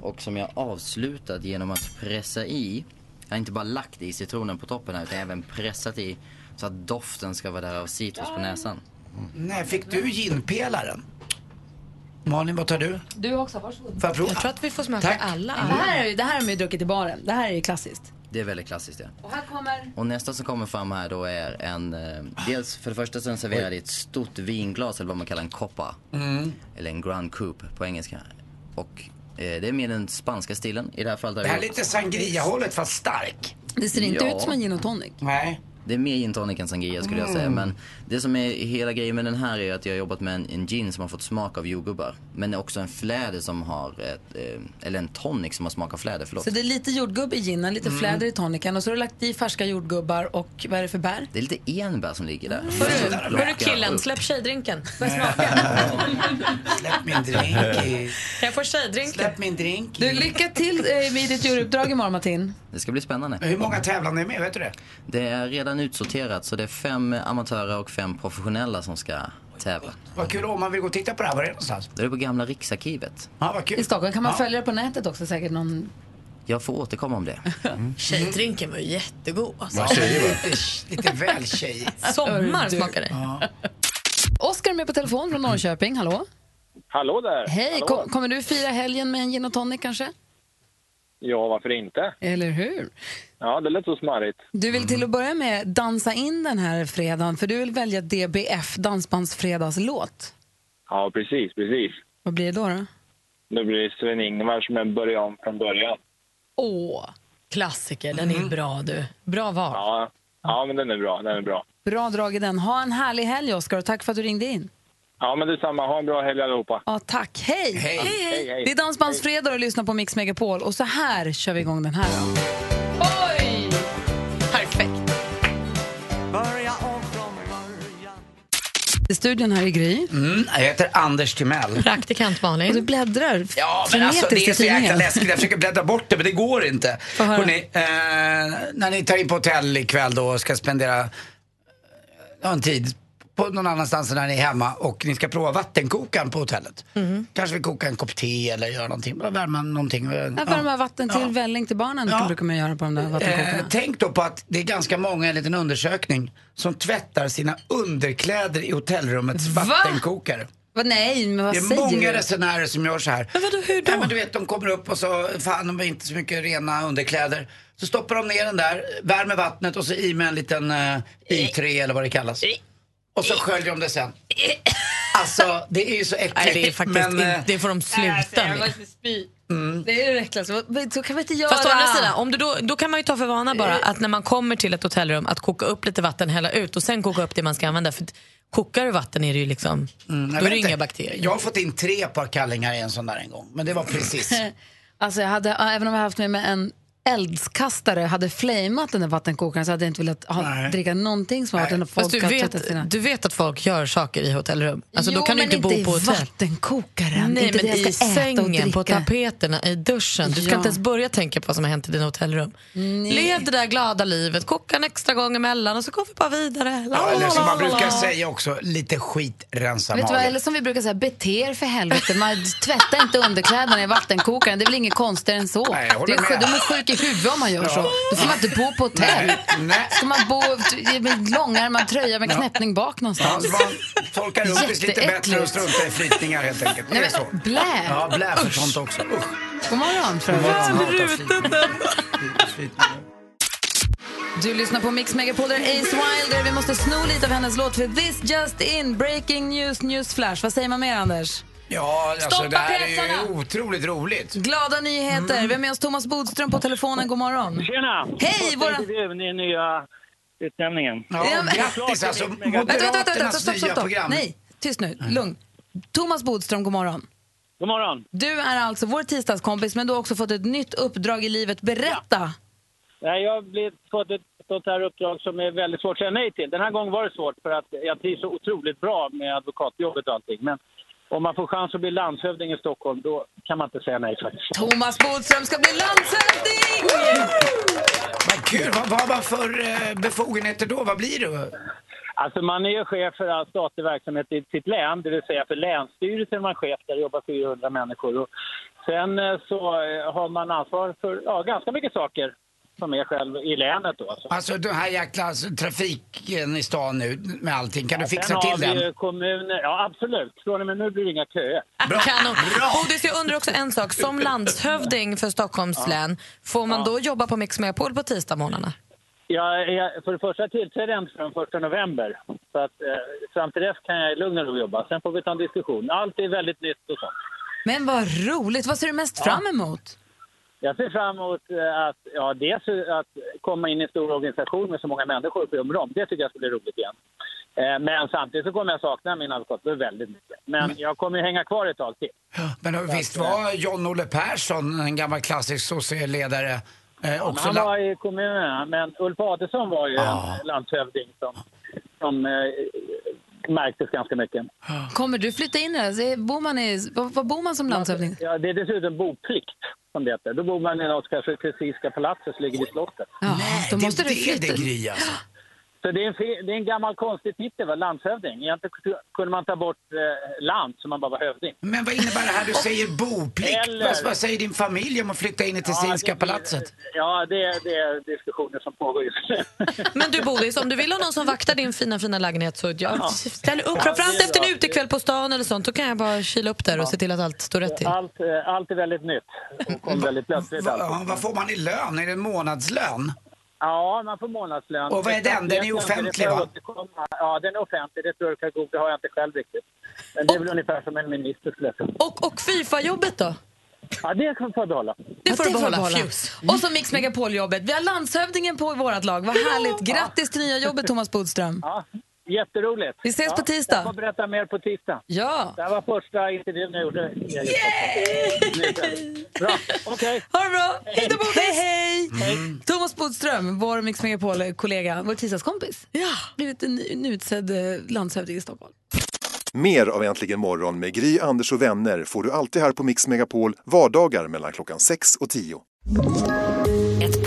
Speaker 23: Och som jag avslutat genom att pressa i, jag har inte bara lagt i citronen på toppen här utan även pressat i så att doften ska vara där av citrus på näsan.
Speaker 3: Mm. Nej, fick du ginpelaren? Malin, vad tar du?
Speaker 2: Du också, varsågod.
Speaker 3: Får jag prova?
Speaker 4: att vi får smaka alla.
Speaker 2: Det här, är ju- det här har man ju druckit i baren. Det här är ju klassiskt.
Speaker 23: Det är väldigt klassiskt det.
Speaker 2: Och här kommer...
Speaker 23: Och nästa som kommer fram här då är en, eh, dels för det första så är den serverad i ett stort vinglas eller vad man kallar en koppa.
Speaker 3: Mm.
Speaker 23: Eller en grand coupe på engelska. Och eh, det är mer den spanska stilen i det här fallet. har
Speaker 3: Det här är
Speaker 23: vi gjort-
Speaker 3: lite sangria-hållet fast stark.
Speaker 2: Det ser inte
Speaker 23: Ja.
Speaker 2: ut som en gin och tonic.
Speaker 3: Nej.
Speaker 23: Det är mer gin tonic än sangria skulle jag säga.
Speaker 2: Mm.
Speaker 23: Men det som är hela grejen med den här är att jag har jobbat med en, en gin som har fått smak av jordgubbar. Men också en fläder som har, ett, eh, eller en tonic som har smak av fläder, förlåt.
Speaker 2: Så det är lite jordgubb i ginen, lite
Speaker 23: Mm.
Speaker 2: fläder i toniken och så har du lagt i färska jordgubbar och vad är det för bär?
Speaker 23: Det är lite enbär som ligger
Speaker 2: Mm.
Speaker 23: där.
Speaker 4: Hörru killen, släpp tjejdrinken. Börja
Speaker 3: Släpp min drink.
Speaker 4: Kan jag få tjejdrinken?
Speaker 3: Släpp min drink.
Speaker 2: Du, lycka till eh, med ditt juryuppdrag imorgon Martin.
Speaker 23: Det ska bli spännande.
Speaker 3: Hur många tävlande är med? Vet du det?
Speaker 23: Det är redan utsorterat så det är fem eh, amatörer och fem professionella som ska tävla.
Speaker 3: Vad kul om man vill gå och titta på det här. Var är det någonstans?
Speaker 23: Det är på gamla Riksarkivet.
Speaker 3: Ja, vad kul.
Speaker 2: I Stockholm kan man
Speaker 23: Ja.
Speaker 2: följa det på nätet också säkert någon...
Speaker 23: Jag får återkomma om det.
Speaker 4: Tjejdrinken var ju jättegod. Alltså.
Speaker 23: Vad tjejer, va?
Speaker 3: Lite, lite väl tjej.
Speaker 4: Sommar smakar det.
Speaker 2: Oskar är med på telefon från Norrköping, hallå?
Speaker 6: Hallå där!
Speaker 2: Hej,
Speaker 6: Hallå.
Speaker 2: kom, kommer du fira helgen med en gin och tonic kanske?
Speaker 6: Ja, varför inte?
Speaker 2: Eller hur?
Speaker 6: Ja, det lät så smarrigt.
Speaker 2: Du vill
Speaker 3: Mm.
Speaker 2: till att börja med dansa in den här fredagen för du vill välja DBF, Dansbandsfredagslåt.
Speaker 6: Ja, precis, precis.
Speaker 2: Vad blir det då? då?
Speaker 6: Nu blir det Sven-Ingvars som en början om från början.
Speaker 4: Åh, klassiker. Den är bra du. Bra val.
Speaker 6: Ja, ja, men den är bra, den är bra.
Speaker 2: Bra drag i den. Ha en härlig helg, Oskar, och tack för att du ringde in.
Speaker 6: Ja, men detsamma. Ha en bra helg allihopa.
Speaker 2: Ja, tack. Hej!
Speaker 6: Hej. Hej, hej.
Speaker 2: Det är Dansbandsfredag och lyssnar på Mix Megapol. Och så här kör vi igång den här. Då. Oj! Perfekt.
Speaker 9: Börja om från
Speaker 2: I studion här i Gry.
Speaker 3: Mm, jag heter Anders Timell.
Speaker 2: Praktikant Malin. Och du bläddrar
Speaker 3: Ja, men alltså, det är
Speaker 2: frenetiskt
Speaker 3: så
Speaker 2: i
Speaker 3: jäkla
Speaker 2: tidningen.
Speaker 3: läskigt. Jag försöker bläddra bort det, men det går inte.
Speaker 2: Få höra.
Speaker 3: Hörrni, eh, när ni tar in på hotell ikväll då och ska spendera eh, ja, en tid på någon annanstans än när ni är hemma och ni ska prova vattenkokaren på hotellet.
Speaker 2: Mm.
Speaker 3: Kanske vi kokar en kopp te eller gör någonting, bara värma någonting.
Speaker 2: Jag värmer vatten till välling till barnen brukar man göra på de där
Speaker 3: Eh,
Speaker 2: vattenkockarna.
Speaker 3: tänk då på att det är ganska många, en liten undersökning, som tvättar sina underkläder i hotellrummets vattenkokare.
Speaker 2: Vad- Nej, men vad
Speaker 3: det är
Speaker 2: säger
Speaker 3: många
Speaker 2: du?
Speaker 3: resenärer som gör så här. Men vadå, hur då? Nej, men du vet, de kommer upp och så, fan de har inte så mycket rena underkläder. Så stoppar de ner den där, värmer vattnet och så i med en liten eh, I3 eller vad det kallas.
Speaker 4: Eh,
Speaker 3: Och så sköljer de det sen. Alltså, det är ju så äckligt.
Speaker 4: Nej, det är faktiskt
Speaker 3: men, eh,
Speaker 4: inte, det får de sluta med.
Speaker 3: Mm.
Speaker 2: Det är det äckligaste. Vad- Så kan vi inte göra.
Speaker 4: Fast å andra sidan, om du då, då kan man ju ta för vana bara att när man kommer till ett hotellrum att koka upp lite vatten, hälla ut och sen koka upp det man ska använda. För att kokar du vatten är det ju liksom,
Speaker 3: Mm, jag
Speaker 4: då är
Speaker 3: vet
Speaker 4: det
Speaker 3: inte.
Speaker 4: inga bakterier.
Speaker 3: Jag har fått in tre par kallingar i en sån där en gång. Men det var precis.
Speaker 2: Alltså jag hade, även om jag haft med mig en eldskastare hade flameat den där vattenkokaren så hade jag inte velat ha, dricka någonting som var den och folk
Speaker 4: Fast du
Speaker 2: ska tvätta sina...
Speaker 4: vet, du vet att folk gör saker i hotellrum. Alltså, då
Speaker 2: Jo,
Speaker 4: kan du
Speaker 2: men
Speaker 4: inte, bo
Speaker 2: i
Speaker 4: på hotell.
Speaker 2: vattenkokaren.
Speaker 4: Nej,
Speaker 2: inte
Speaker 4: men
Speaker 2: det jag
Speaker 4: i
Speaker 2: ska äta och
Speaker 4: sängen,
Speaker 2: dricka.
Speaker 4: på tapeterna, i duschen. Du ska
Speaker 2: Ja.
Speaker 4: inte ens börja tänka på vad som har hänt i dina hotellrum.
Speaker 2: Nej.
Speaker 4: Lev det där glada livet, koka en extra gång emellan och så går vi bara vidare. La,
Speaker 3: Ja,
Speaker 4: la,
Speaker 3: eller
Speaker 4: la,
Speaker 3: som man
Speaker 4: la,
Speaker 3: brukar
Speaker 4: la.
Speaker 3: säga också, lite skit rensar
Speaker 2: Vet du vad,
Speaker 3: magen.
Speaker 2: eller som vi brukar säga, bete er för helvete. Man tvättar inte underkläderna i vattenkokaren. Det är väl inget konstigare än så.
Speaker 3: Nej, jag håller
Speaker 2: det är,
Speaker 3: med.
Speaker 2: sjuk- de är sjuka i huvudet om man gör
Speaker 3: Ja.
Speaker 2: så. Då får man inte bo på hotell.
Speaker 3: Nej.
Speaker 2: Ska man bo med långärmad tröja med knäppning bak
Speaker 3: Ja,
Speaker 2: någonstans?
Speaker 3: så man tolkar rumpis lite bättre och
Speaker 2: Jätteäckligt.
Speaker 3: struntar i flytningar helt enkelt.
Speaker 2: Nej,
Speaker 3: Det är
Speaker 2: men
Speaker 3: så.
Speaker 2: blä.
Speaker 3: Ja, blä för
Speaker 2: Usch.
Speaker 3: sånt också. Usch.
Speaker 2: God morgon,
Speaker 3: God morgon.
Speaker 2: fröken.
Speaker 3: Hatar flytningar.
Speaker 2: Du lyssnar på Mix Megapol, där är Ace Wilder. Vi måste sno lite av hennes låt för This Just In, Breaking News, Newsflash. Vad säger man mer, Anders?
Speaker 3: Ja, alltså
Speaker 2: Stoppa
Speaker 3: det här är ju
Speaker 2: pälsarna.
Speaker 3: otroligt roligt.
Speaker 2: Glada nyheter. Vi har med oss Thomas Bodström på telefonen. God morgon.
Speaker 26: Tjena!
Speaker 2: Hej! Våra...
Speaker 26: intervjun i nya utnämningen.
Speaker 2: Ja, men-
Speaker 3: grattis, alltså,
Speaker 2: Vänta, vänta, vänta, vänta, stopp,
Speaker 26: nya
Speaker 2: stopp, stopp.
Speaker 26: program.
Speaker 2: Nej, tyst nu. Lugn. Thomas Bodström, god morgon.
Speaker 26: God morgon.
Speaker 2: Du är alltså vår tisdagskompis, men du har också fått ett nytt uppdrag i livet. Berätta!
Speaker 26: Nej, jag har blivit- fått ett sånt här uppdrag som är väldigt svårt att säga nej till. Den här gången var det svårt för att jag trivs så otroligt bra med advokatjobbet och allting. Men om man får chans att bli landshövding i Stockholm, då kan man inte säga nej faktiskt.
Speaker 2: Thomas Bodström ska bli landshövding!
Speaker 3: Vad kul. Vad vad har man för eh, befogenheter då? Vad blir du?
Speaker 26: Alltså man är ju chef för all statlig verksamhet i sitt län, det vill säga för länsstyrelsen är man chef där det jobbar 400 människor. Och sen eh, så eh, har man ansvar för ja, ganska mycket saker som är själv i länet då. Alltså.
Speaker 3: Alltså den här jäkla alltså, trafiken i stan nu med allting. Kan du fixa
Speaker 26: sen
Speaker 3: till
Speaker 26: har vi ju
Speaker 3: den?
Speaker 26: kommuner, ja absolut. Från och med nu blir det inga köer.
Speaker 4: Ah, Kanon. Bodis, jag undrar också en sak. Som landshövding för Stockholms län, får man då jobba på Mix Megapol på tisdagsmorgnarna?
Speaker 26: Jag är, för det första tillträdde jag inte förrän 1 november. Så att, eh, fram till dess kan jag i lugn och ro jobba. Sen får vi ta en diskussion. Allt är väldigt nytt och sånt.
Speaker 2: Men vad roligt! Vad ser du mest fram emot?
Speaker 26: Jag ser fram emot eh, att, ja, dels att komma in i en stor organisation med så många människor på om och om. Det tycker jag ska bli roligt igen. Eh, Men samtidigt så kommer jag sakna min advokatbyrå väldigt mycket.
Speaker 3: Mm.
Speaker 26: Men jag kommer ju hänga kvar ett tag till.
Speaker 3: Men visst var John-Olle Persson, en gammal klassisk sosseledare, eh,
Speaker 26: Men
Speaker 3: också
Speaker 26: han
Speaker 3: la-
Speaker 26: var i kommunerna, men Ulf Adelsohn var ju en landshövding som, som eh, märktes ganska mycket.
Speaker 2: Kommer du flytta in här? Se, Bor man i, var, var bor man som landshövding?
Speaker 26: Ja, det är dessutom boplikt, som det heter. Då bor man i något som kallas för Krusinska palatset, som ligger vid slottet.
Speaker 2: Ja, då måste du flytta.
Speaker 26: Så Så det är en, fe- det är en gammal konstig titel, va? landshövding. Egentligen kunde man ta bort eh, land, så man bara var hövding.
Speaker 3: Men vad innebär det här du säger boplikt?
Speaker 26: Eller-
Speaker 3: Vad- Vad säger din familj om att flytta in i Tessinska palatset?
Speaker 26: Ja, det är, det är diskussioner som pågår just nu.
Speaker 4: Men du Bodis, om du vill ha någon som vaktar din fina, fina lägenhet så ja, ställ upp. Framförallt efter en utekväll på stan eller sånt, då kan jag bara kyla upp där och se till att allt står rätt till.
Speaker 26: Allt, eh, allt är väldigt nytt och kom väldigt plötsligt. alltså.
Speaker 3: Ja, vad får man i lön? Är det en månadslön?
Speaker 26: Ja, man får månadslön.
Speaker 3: Och vad är den? Den är ju
Speaker 26: Exakt, det
Speaker 3: offentlig,
Speaker 26: får jag
Speaker 3: va?
Speaker 26: återkomma. Ja, den är offentlig. Det tror jag kan googla. Det har jag inte själv riktigt. Men det är väl ungefär som en minister skulle jag säga.
Speaker 4: Och, och Fifa-jobbet då?
Speaker 26: Ja, det kan få behålla.
Speaker 2: Det får du behålla. Mm. Och så Mix Megapol-jobbet. Vi har landshövdingen på i vårt lag. Vad härligt. Grattis till nya jobbet, Thomas Bodström.
Speaker 26: Jätteroligt.
Speaker 2: Vi ses
Speaker 26: ja,
Speaker 2: på tisdag.
Speaker 26: Jag får berätta mer på tisdag.
Speaker 2: Ja.
Speaker 26: Det här var första intervjun jag gjorde. Yay! Bra, okej.
Speaker 2: Ha det bra. Hej då, Bodis. Hej, hej. Thomas Bodström, vår Mix Megapol-kollega, vår tisdagskompis. Ja. Blivit en ny- nyutsedd eh, landshövding i Stockholm.
Speaker 6: Mer av Äntligen morgon med Gry, Anders och vänner får du alltid här på Mix Megapol vardagar mellan klockan 6 och 10.
Speaker 27: Ett